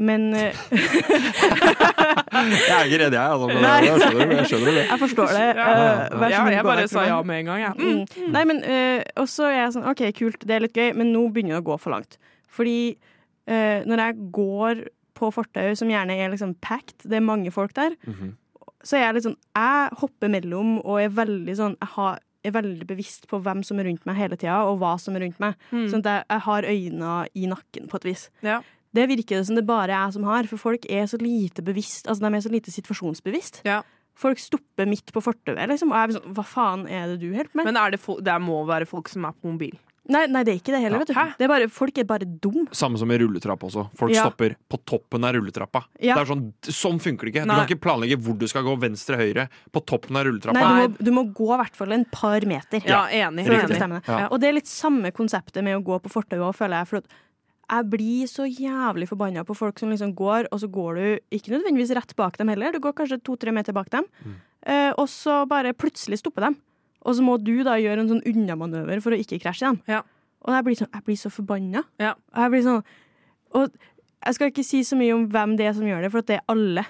[SPEAKER 6] men eh,
[SPEAKER 5] Jeg er ikke redd, jeg. Altså, men jeg, skjønner, det, jeg skjønner det.
[SPEAKER 6] jeg forstår det.
[SPEAKER 1] Ja.
[SPEAKER 6] Eh, vær så
[SPEAKER 1] Ja,
[SPEAKER 6] snill,
[SPEAKER 1] jeg
[SPEAKER 6] gå
[SPEAKER 1] bare
[SPEAKER 6] vekk
[SPEAKER 1] sa
[SPEAKER 6] fra
[SPEAKER 1] ja
[SPEAKER 6] meg.
[SPEAKER 1] med en gang, jeg. Mm.
[SPEAKER 6] Mm. Nei, men eh, Og så er jeg sånn OK, kult, det er litt gøy, men nå begynner det å gå for langt. Fordi eh, når jeg går på fortau som gjerne er liksom packed, det er mange folk der,
[SPEAKER 5] Mhm.
[SPEAKER 6] så er jeg litt sånn Jeg hopper mellom og er veldig sånn Jeg har er veldig bevisst på hvem som er rundt meg hele tida, og hva som er rundt meg.
[SPEAKER 1] Mm.
[SPEAKER 6] Sånn at jeg, jeg har øynene i nakken, på et vis.
[SPEAKER 1] Ja.
[SPEAKER 6] Det virker det som det bare er jeg som har, for folk er så lite bevisst Altså de er så lite situasjonsbevisst.
[SPEAKER 1] Ja.
[SPEAKER 6] Folk stopper midt på fortauet, liksom. Og jeg blir sånn Hva faen er det du holder på med?
[SPEAKER 1] Men er det, fol- det må være folk som er på mobil.
[SPEAKER 6] Nei, nei, det er ikke det heller. vet du
[SPEAKER 1] Hæ?
[SPEAKER 6] det er bare, Folk er bare dum.
[SPEAKER 5] Samme som i rulletrappa også. Folk
[SPEAKER 6] Ja.
[SPEAKER 5] stopper på toppen av rulletrappa.
[SPEAKER 6] Ja.
[SPEAKER 5] Det er sånn, sånn funker det ikke. Du
[SPEAKER 1] Nei.
[SPEAKER 5] kan ikke planlegge hvor du skal gå venstre, høyre, på toppen av
[SPEAKER 6] Nei,
[SPEAKER 5] rulletrappa.
[SPEAKER 6] du, må, du må gå i hvert fall en par meter.
[SPEAKER 1] Ja, enig.
[SPEAKER 6] for å
[SPEAKER 5] riktig.
[SPEAKER 1] enig.
[SPEAKER 6] bestemme det.
[SPEAKER 5] Ja.
[SPEAKER 6] Og det er litt samme konseptet med å gå på fortauet òg, føler jeg. For at jeg blir så jævlig forbanna på folk som liksom går, og så går du ikke nødvendigvis rett bak dem heller. Du går kanskje to-tre meter bak dem,
[SPEAKER 5] Mm.
[SPEAKER 6] eh, og så bare plutselig stopper dem. Og så må du da gjøre en sånn unnamanøver for å ikke krasje i dem.
[SPEAKER 1] Ja.
[SPEAKER 6] Og jeg blir, sånn, jeg blir så forbanna.
[SPEAKER 1] Ja.
[SPEAKER 6] Og jeg blir sånn Og jeg skal ikke si så mye om hvem det er som gjør det, for at det er alle.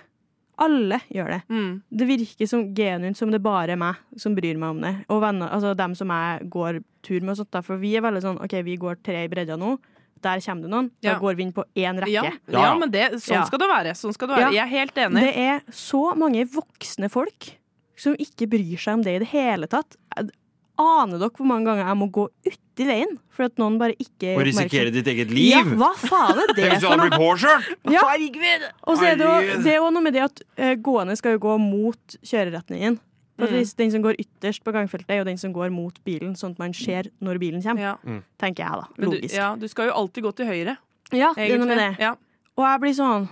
[SPEAKER 6] Alle gjør det.
[SPEAKER 1] Mm.
[SPEAKER 6] Det virker som genuint som det bare er meg som bryr meg om det. Og venner, altså dem som jeg går tur med og sånt. da. For vi er veldig sånn OK, vi går tre i bredda nå. Der kommer det noen. Da
[SPEAKER 1] Ja.
[SPEAKER 6] går vi inn på én
[SPEAKER 1] Ja,
[SPEAKER 6] rekke.
[SPEAKER 1] ja, men det, sånn
[SPEAKER 6] Ja.
[SPEAKER 1] skal det være. Sånn skal det være. Jeg
[SPEAKER 6] Ja.
[SPEAKER 1] er helt enig.
[SPEAKER 6] Det er så mange voksne folk som ikke bryr seg om det i det hele tatt. Jeg- Aner dere hvor mange ganger jeg må gå uti veien for at noen bare ikke er
[SPEAKER 5] Og risikere
[SPEAKER 6] oppmerksom?
[SPEAKER 5] ditt eget
[SPEAKER 6] Ja,
[SPEAKER 5] liv!
[SPEAKER 6] hva faen er
[SPEAKER 5] Tenk
[SPEAKER 6] det
[SPEAKER 5] hvis du
[SPEAKER 6] for
[SPEAKER 5] hadde
[SPEAKER 6] noe?
[SPEAKER 5] blitt påkjørt!
[SPEAKER 6] Ja. Og så er det, jo,
[SPEAKER 5] Herregud.
[SPEAKER 6] det er jo noe med det at eh, gående skal jo gå mot kjøreretningen. På et
[SPEAKER 1] Mm.
[SPEAKER 6] vis, den som går ytterst på gangfeltet, er jo den som går mot bilen, sånn at man ser når bilen kommer.
[SPEAKER 1] Ja.
[SPEAKER 6] Tenker jeg, da.
[SPEAKER 1] Men du,
[SPEAKER 6] Logisk.
[SPEAKER 1] ja, du skal jo alltid gå til høyre,
[SPEAKER 6] Ja, det er noe
[SPEAKER 1] egentlig.
[SPEAKER 6] med det.
[SPEAKER 1] Ja.
[SPEAKER 6] Og jeg blir sånn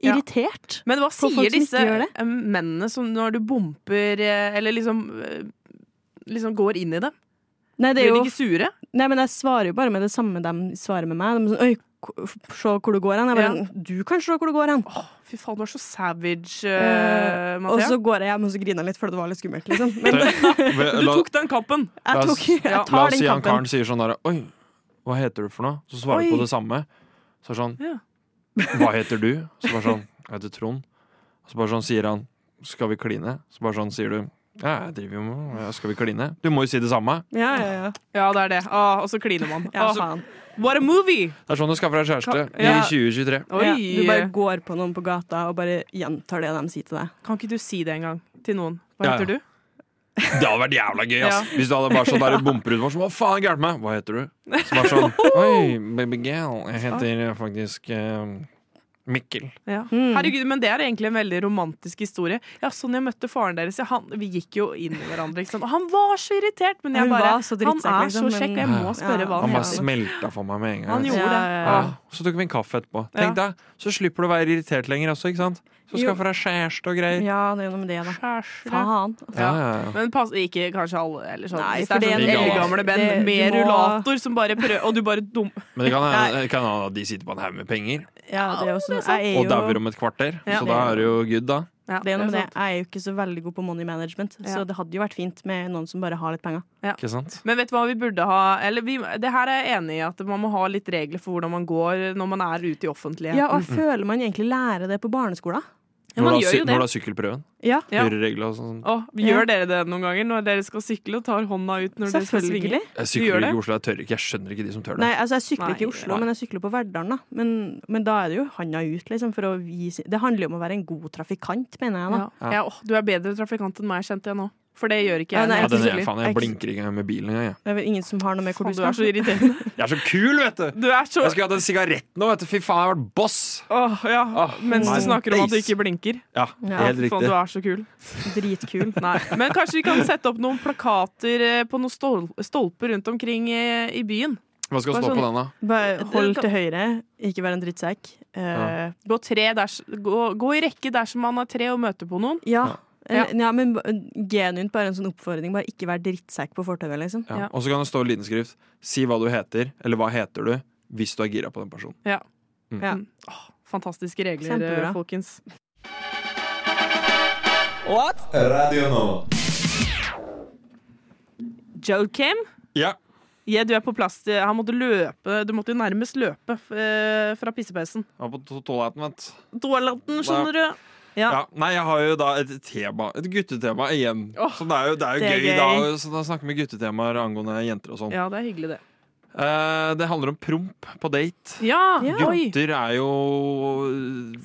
[SPEAKER 1] Ja.
[SPEAKER 6] irritert.
[SPEAKER 1] Men hva
[SPEAKER 6] For folk
[SPEAKER 1] sier
[SPEAKER 6] som
[SPEAKER 1] disse
[SPEAKER 6] ikke gjør det?
[SPEAKER 1] eh, mennene som når du bomper eh, Eller liksom, eh, liksom går inn i dem?
[SPEAKER 6] Nei, det
[SPEAKER 1] Blir
[SPEAKER 6] er
[SPEAKER 1] de
[SPEAKER 6] jo,
[SPEAKER 1] ikke sure?
[SPEAKER 6] nei, men jeg svarer jo bare med det samme de svarer med meg. De er sånn, Oi, k- f- se hvor du går hen. Jeg bare,
[SPEAKER 1] Ja.
[SPEAKER 6] Du kan se hvor du går hen.
[SPEAKER 1] Fy faen, du er så savage, uh,
[SPEAKER 6] Eh, og
[SPEAKER 1] Mathea.
[SPEAKER 6] så går jeg hjem og så griner jeg litt, for det var litt skummelt. Liksom. Men
[SPEAKER 5] Det-
[SPEAKER 1] Du
[SPEAKER 5] Eh, La-
[SPEAKER 1] tok den kampen!
[SPEAKER 5] La
[SPEAKER 6] jeg,
[SPEAKER 5] oss-
[SPEAKER 6] tok, jeg
[SPEAKER 5] La
[SPEAKER 6] tar
[SPEAKER 5] oss
[SPEAKER 6] den
[SPEAKER 5] si han
[SPEAKER 6] kampen.
[SPEAKER 5] karen sier sånn der Oi, hva heter du for noe? Så svarer
[SPEAKER 1] Oi.
[SPEAKER 5] du på det samme. Så er det sånn
[SPEAKER 1] Ja.
[SPEAKER 5] Hva heter du? Så bare sånn Jeg heter Trond. Så bare sånn sier han Skal vi kline? Så bare sånn sier du Ja, jeg driver jo med ja, Skal vi kline? Du må jo si det samme.
[SPEAKER 6] Ja, ja, ja.
[SPEAKER 1] Ja, det er det. Ah, og så kliner man.
[SPEAKER 6] ja
[SPEAKER 1] Ah,
[SPEAKER 6] faen.
[SPEAKER 1] what a movie!
[SPEAKER 5] Det er sånn du skaffer deg kjæreste i
[SPEAKER 1] Ja.
[SPEAKER 5] 2023.
[SPEAKER 1] Oi.
[SPEAKER 6] Ja, du bare går på noen på gata og bare gjentar det de sier til deg.
[SPEAKER 1] Kan ikke du si det en gang til noen? Hva
[SPEAKER 5] Ja,
[SPEAKER 1] heter
[SPEAKER 5] ja.
[SPEAKER 1] du?
[SPEAKER 5] Det hadde vært jævla gøy, ass.
[SPEAKER 1] Ja.
[SPEAKER 5] Hvis du hadde bare sånn der bumper ut bare sånn Hva faen er gærent med meg? Hva heter du? Så bare sånn Oi, baby girl. Jeg heter faktisk eh, Mikkel.
[SPEAKER 1] Ja.
[SPEAKER 6] Mm.
[SPEAKER 1] Hmm. Herregud, men det er egentlig en veldig romantisk historie. Ja, sånn jeg møtte faren deres ja, han, Vi gikk jo inn i hverandre, ikke sant. Og han var så irritert, men jeg
[SPEAKER 6] Han
[SPEAKER 1] bare
[SPEAKER 6] var så
[SPEAKER 1] Han er
[SPEAKER 6] drittsekk,
[SPEAKER 1] så
[SPEAKER 6] liksom,
[SPEAKER 1] kjekk,
[SPEAKER 6] men-
[SPEAKER 1] og jeg må spørre
[SPEAKER 6] Ja.
[SPEAKER 1] hva han
[SPEAKER 5] Han bare
[SPEAKER 1] heter.
[SPEAKER 5] smelta for meg med en gang.
[SPEAKER 1] Han gjorde
[SPEAKER 6] Ja,
[SPEAKER 1] det.
[SPEAKER 6] ja, ja.
[SPEAKER 5] Ja, så tok vi en kaffe etterpå. Tenk deg, Så slipper du å være irritert lenger også, ikke sant? Så
[SPEAKER 6] Jo.
[SPEAKER 5] skaffer deg kjæreste og greier.
[SPEAKER 6] ja, det er jo noe med det, da.
[SPEAKER 1] Kjæreste.
[SPEAKER 6] Faen.
[SPEAKER 5] Ja, ja, ja.
[SPEAKER 1] Men pass, ikke kanskje alle, eller sånn.
[SPEAKER 6] Nei,
[SPEAKER 1] Hvis
[SPEAKER 6] for
[SPEAKER 1] det er
[SPEAKER 5] det
[SPEAKER 1] sånn
[SPEAKER 5] er-
[SPEAKER 1] eldgamle menn
[SPEAKER 6] det- du
[SPEAKER 1] med
[SPEAKER 6] må-
[SPEAKER 1] rullator som bare prøver Og du bare dum...
[SPEAKER 5] Men det kan hende- det kan hende at de sitter på en haug med penger
[SPEAKER 6] Ja, det er også noe. Jeg
[SPEAKER 5] og
[SPEAKER 6] er
[SPEAKER 5] dauer
[SPEAKER 6] jo,
[SPEAKER 5] om et kvarter.
[SPEAKER 1] Ja.
[SPEAKER 5] Så da er det jo good, da.
[SPEAKER 1] Ja,
[SPEAKER 6] det er noe med det.
[SPEAKER 1] sant.
[SPEAKER 6] Jeg er jo ikke så veldig god på money management,
[SPEAKER 1] Ja.
[SPEAKER 6] så det hadde jo vært fint med noen som bare har litt penger.
[SPEAKER 5] Ikke sant?
[SPEAKER 1] Men vet du hva vi burde ha Eller vi, det her er jeg enig i, at man må ha litt regler for hvordan man går når man er ute i offentligheten.
[SPEAKER 6] Ja,
[SPEAKER 5] Mm.
[SPEAKER 6] og jeg føler man egentlig lærer det på barneskolen.
[SPEAKER 1] Ja, man
[SPEAKER 5] når, du
[SPEAKER 1] gjør
[SPEAKER 5] har, sy-
[SPEAKER 1] jo det.
[SPEAKER 5] når du har sykkelprøven.
[SPEAKER 6] Ja,
[SPEAKER 1] Ja.
[SPEAKER 5] Kjøreregler og sånn.
[SPEAKER 1] Å, gjør dere det noen ganger når dere skal sykle og tar hånda ut når dere skal svinge?
[SPEAKER 6] selvfølgelig.
[SPEAKER 5] Jeg
[SPEAKER 1] gjør
[SPEAKER 5] sykler ikke
[SPEAKER 1] det?
[SPEAKER 5] i Oslo, jeg tør ikke. Jeg skjønner ikke de som tør det.
[SPEAKER 6] Nei, altså jeg sykler
[SPEAKER 1] Nei,
[SPEAKER 6] ikke i Oslo,
[SPEAKER 1] nei.
[SPEAKER 6] men jeg sykler på Verdalen, da. Men, men da er det jo handa ut, liksom, for å vise Det handler jo om å være en god trafikant, mener jeg, da.
[SPEAKER 1] Ja. Ja, åh, du er bedre trafikant enn meg, kjente jeg nå. For det gjør ikke
[SPEAKER 6] Ja,
[SPEAKER 1] jeg.
[SPEAKER 6] nei,
[SPEAKER 1] når
[SPEAKER 5] Ja,
[SPEAKER 1] jeg
[SPEAKER 5] den
[SPEAKER 1] sykler.
[SPEAKER 5] er, faen,
[SPEAKER 6] Jeg-
[SPEAKER 5] jeg blinker ikke engang med bilen engang. jeg.
[SPEAKER 6] Det er vel ingen som har noe med hvor
[SPEAKER 1] Faen,
[SPEAKER 6] du
[SPEAKER 1] du er så
[SPEAKER 6] skal.
[SPEAKER 1] irriterende.
[SPEAKER 5] Jeg er så kul, vet du!
[SPEAKER 1] Du er så
[SPEAKER 5] Jeg skulle hatt en sigarett nå, vet du. Fy faen, jeg har vært boss!
[SPEAKER 1] Åh, ja.
[SPEAKER 5] Åh,
[SPEAKER 1] Mens
[SPEAKER 5] nei.
[SPEAKER 1] du snakker om at du ikke blinker.
[SPEAKER 5] Ja,
[SPEAKER 6] Ja,
[SPEAKER 5] helt
[SPEAKER 1] Faen,
[SPEAKER 5] riktig.
[SPEAKER 1] du er så kul.
[SPEAKER 6] Dritkul.
[SPEAKER 1] Nei. Men kanskje vi kan sette opp noen plakater eh, på noen stol stolper rundt omkring eh, i byen.
[SPEAKER 5] Hva skal
[SPEAKER 1] Bare
[SPEAKER 5] stå på
[SPEAKER 1] sånn-
[SPEAKER 5] den, da?
[SPEAKER 6] Bare hold til høyre, ikke vær en drittsekk. Eh,
[SPEAKER 1] Gå, tre ders, gå, gå i rekke dersom man har tre og møter på noen.
[SPEAKER 6] ja.
[SPEAKER 1] Ja.
[SPEAKER 6] En, ja, men ba- genuint bare en sånn oppfordring. Bare ikke vær drittsekk på fortauet, liksom.
[SPEAKER 5] Ja.
[SPEAKER 1] Ja.
[SPEAKER 5] Og så kan det stå i liten skrift Si hva du heter, eller hva heter du Hvis du er gira på den personen
[SPEAKER 1] Mm. Fantastiske regler,
[SPEAKER 6] Kjempebra.
[SPEAKER 1] eh, folkens. Joel Kim,
[SPEAKER 5] Ja,
[SPEAKER 1] ja, du er på plass. Han måtte løpe. Du måtte jo nærmest løpe eh, fra pissepausen.
[SPEAKER 5] jeg var på to- toaletten, vet du.
[SPEAKER 1] Toaletten, skjønner du. Ja.
[SPEAKER 5] ja, Nei, jeg har jo da et tema Et guttetema igjen
[SPEAKER 1] Åh,
[SPEAKER 5] Så det er jo, det er jo
[SPEAKER 6] det er
[SPEAKER 5] gøy,
[SPEAKER 6] gøy.
[SPEAKER 5] da Så da snakker vi guttetemaer angående jenter og sånn
[SPEAKER 1] Ja, det er hyggelig, det.
[SPEAKER 5] eh, Det handler om promp på date
[SPEAKER 1] Ja,
[SPEAKER 6] Ja.
[SPEAKER 1] oi!
[SPEAKER 5] Gutter er jo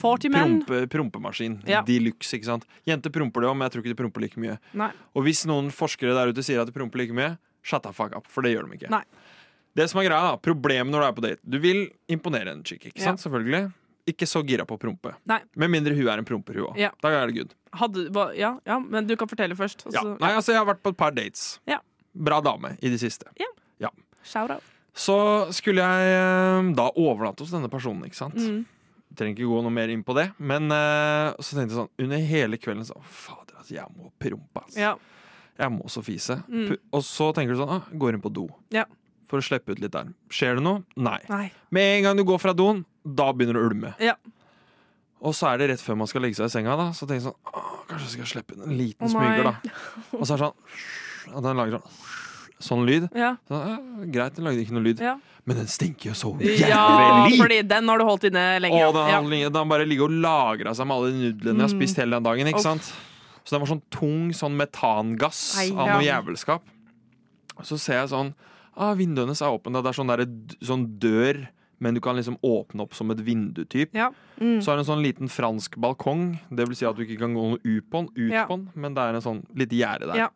[SPEAKER 1] 40 menn.
[SPEAKER 5] prompe, Prompemaskin
[SPEAKER 1] Ja.
[SPEAKER 5] De luxe, ikke sant Jenter promper det også, men jeg tror ikke de promper like mye
[SPEAKER 1] Nei.
[SPEAKER 5] Og hvis noen forskere der ute sier at de promper like mye, shut the fuck up, for det gjør de ikke.
[SPEAKER 1] Nei.
[SPEAKER 5] Det som er greia da, Problemet når du er på date Du vil imponere en chick, ikke
[SPEAKER 1] Ja.
[SPEAKER 5] sant? Selvfølgelig. Ikke så gira på å prompe.
[SPEAKER 1] Nei.
[SPEAKER 5] Med mindre hun er en promper, hun òg.
[SPEAKER 1] Ja.
[SPEAKER 5] Da er det good.
[SPEAKER 1] Hadde, hva, ja, ja, men du kan fortelle først. og
[SPEAKER 5] Ja.
[SPEAKER 1] så-
[SPEAKER 5] Nei, altså, jeg har vært på et par dates.
[SPEAKER 1] Ja.
[SPEAKER 5] Bra dame i det siste.
[SPEAKER 1] Shout out.
[SPEAKER 5] Så skulle jeg eh, da overnatte hos denne personen, ikke sant?
[SPEAKER 1] Mm.
[SPEAKER 5] Trenger ikke gå noe mer inn på det. Men eh, så tenkte jeg sånn under hele kvelden sånn Fader, altså, jeg må prompe, altså.
[SPEAKER 1] Ja.
[SPEAKER 5] Jeg må også fise.
[SPEAKER 1] Mm.
[SPEAKER 5] Pu- Og så tenker du sånn, ah, går inn på do.
[SPEAKER 1] Ja.
[SPEAKER 5] For å slippe ut litt der. Skjer det noe? Nei.
[SPEAKER 1] Nei.
[SPEAKER 5] Med en gang du går fra doen, da begynner du å ulme.
[SPEAKER 1] Ja.
[SPEAKER 5] Og så er det rett før man skal legge seg i senga, da. Så tenker jeg sånn, ah, kanskje jeg skal slippe inn en liten
[SPEAKER 1] Å, nei.
[SPEAKER 5] smyger, da. Og så er det sånn, at den lager sånn, sånn lyd.
[SPEAKER 1] Ja.
[SPEAKER 5] Så, eh, greit, den lagde ikke noe lyd.
[SPEAKER 1] Ja.
[SPEAKER 5] Men den stinker jo så
[SPEAKER 1] ja,
[SPEAKER 5] jævlig!
[SPEAKER 1] fordi den har du holdt inne lenge.
[SPEAKER 5] Og den,
[SPEAKER 1] ja. Mm.
[SPEAKER 5] har ligget- den har bare ligget og lagra seg med alle de nudlene jeg har spist hele den dagen.
[SPEAKER 1] Uff.
[SPEAKER 5] ikke sant? Så den var sånn tung sånn metangass
[SPEAKER 6] Ei,
[SPEAKER 5] av noe
[SPEAKER 1] ja.
[SPEAKER 5] jævelskap. Så ser jeg sånn ah, Vinduene er åpne. Det er sånn, derre d- sånn dør, men du kan liksom åpne opp som et vindu-typ.
[SPEAKER 1] Ja.
[SPEAKER 6] Mm.
[SPEAKER 5] Så er det en sånn liten fransk balkong. Det vil si at du ikke kan gå noe ut på den, ut
[SPEAKER 1] Ja.
[SPEAKER 5] på den men det er en sånn lite gjerde der.
[SPEAKER 1] Ja.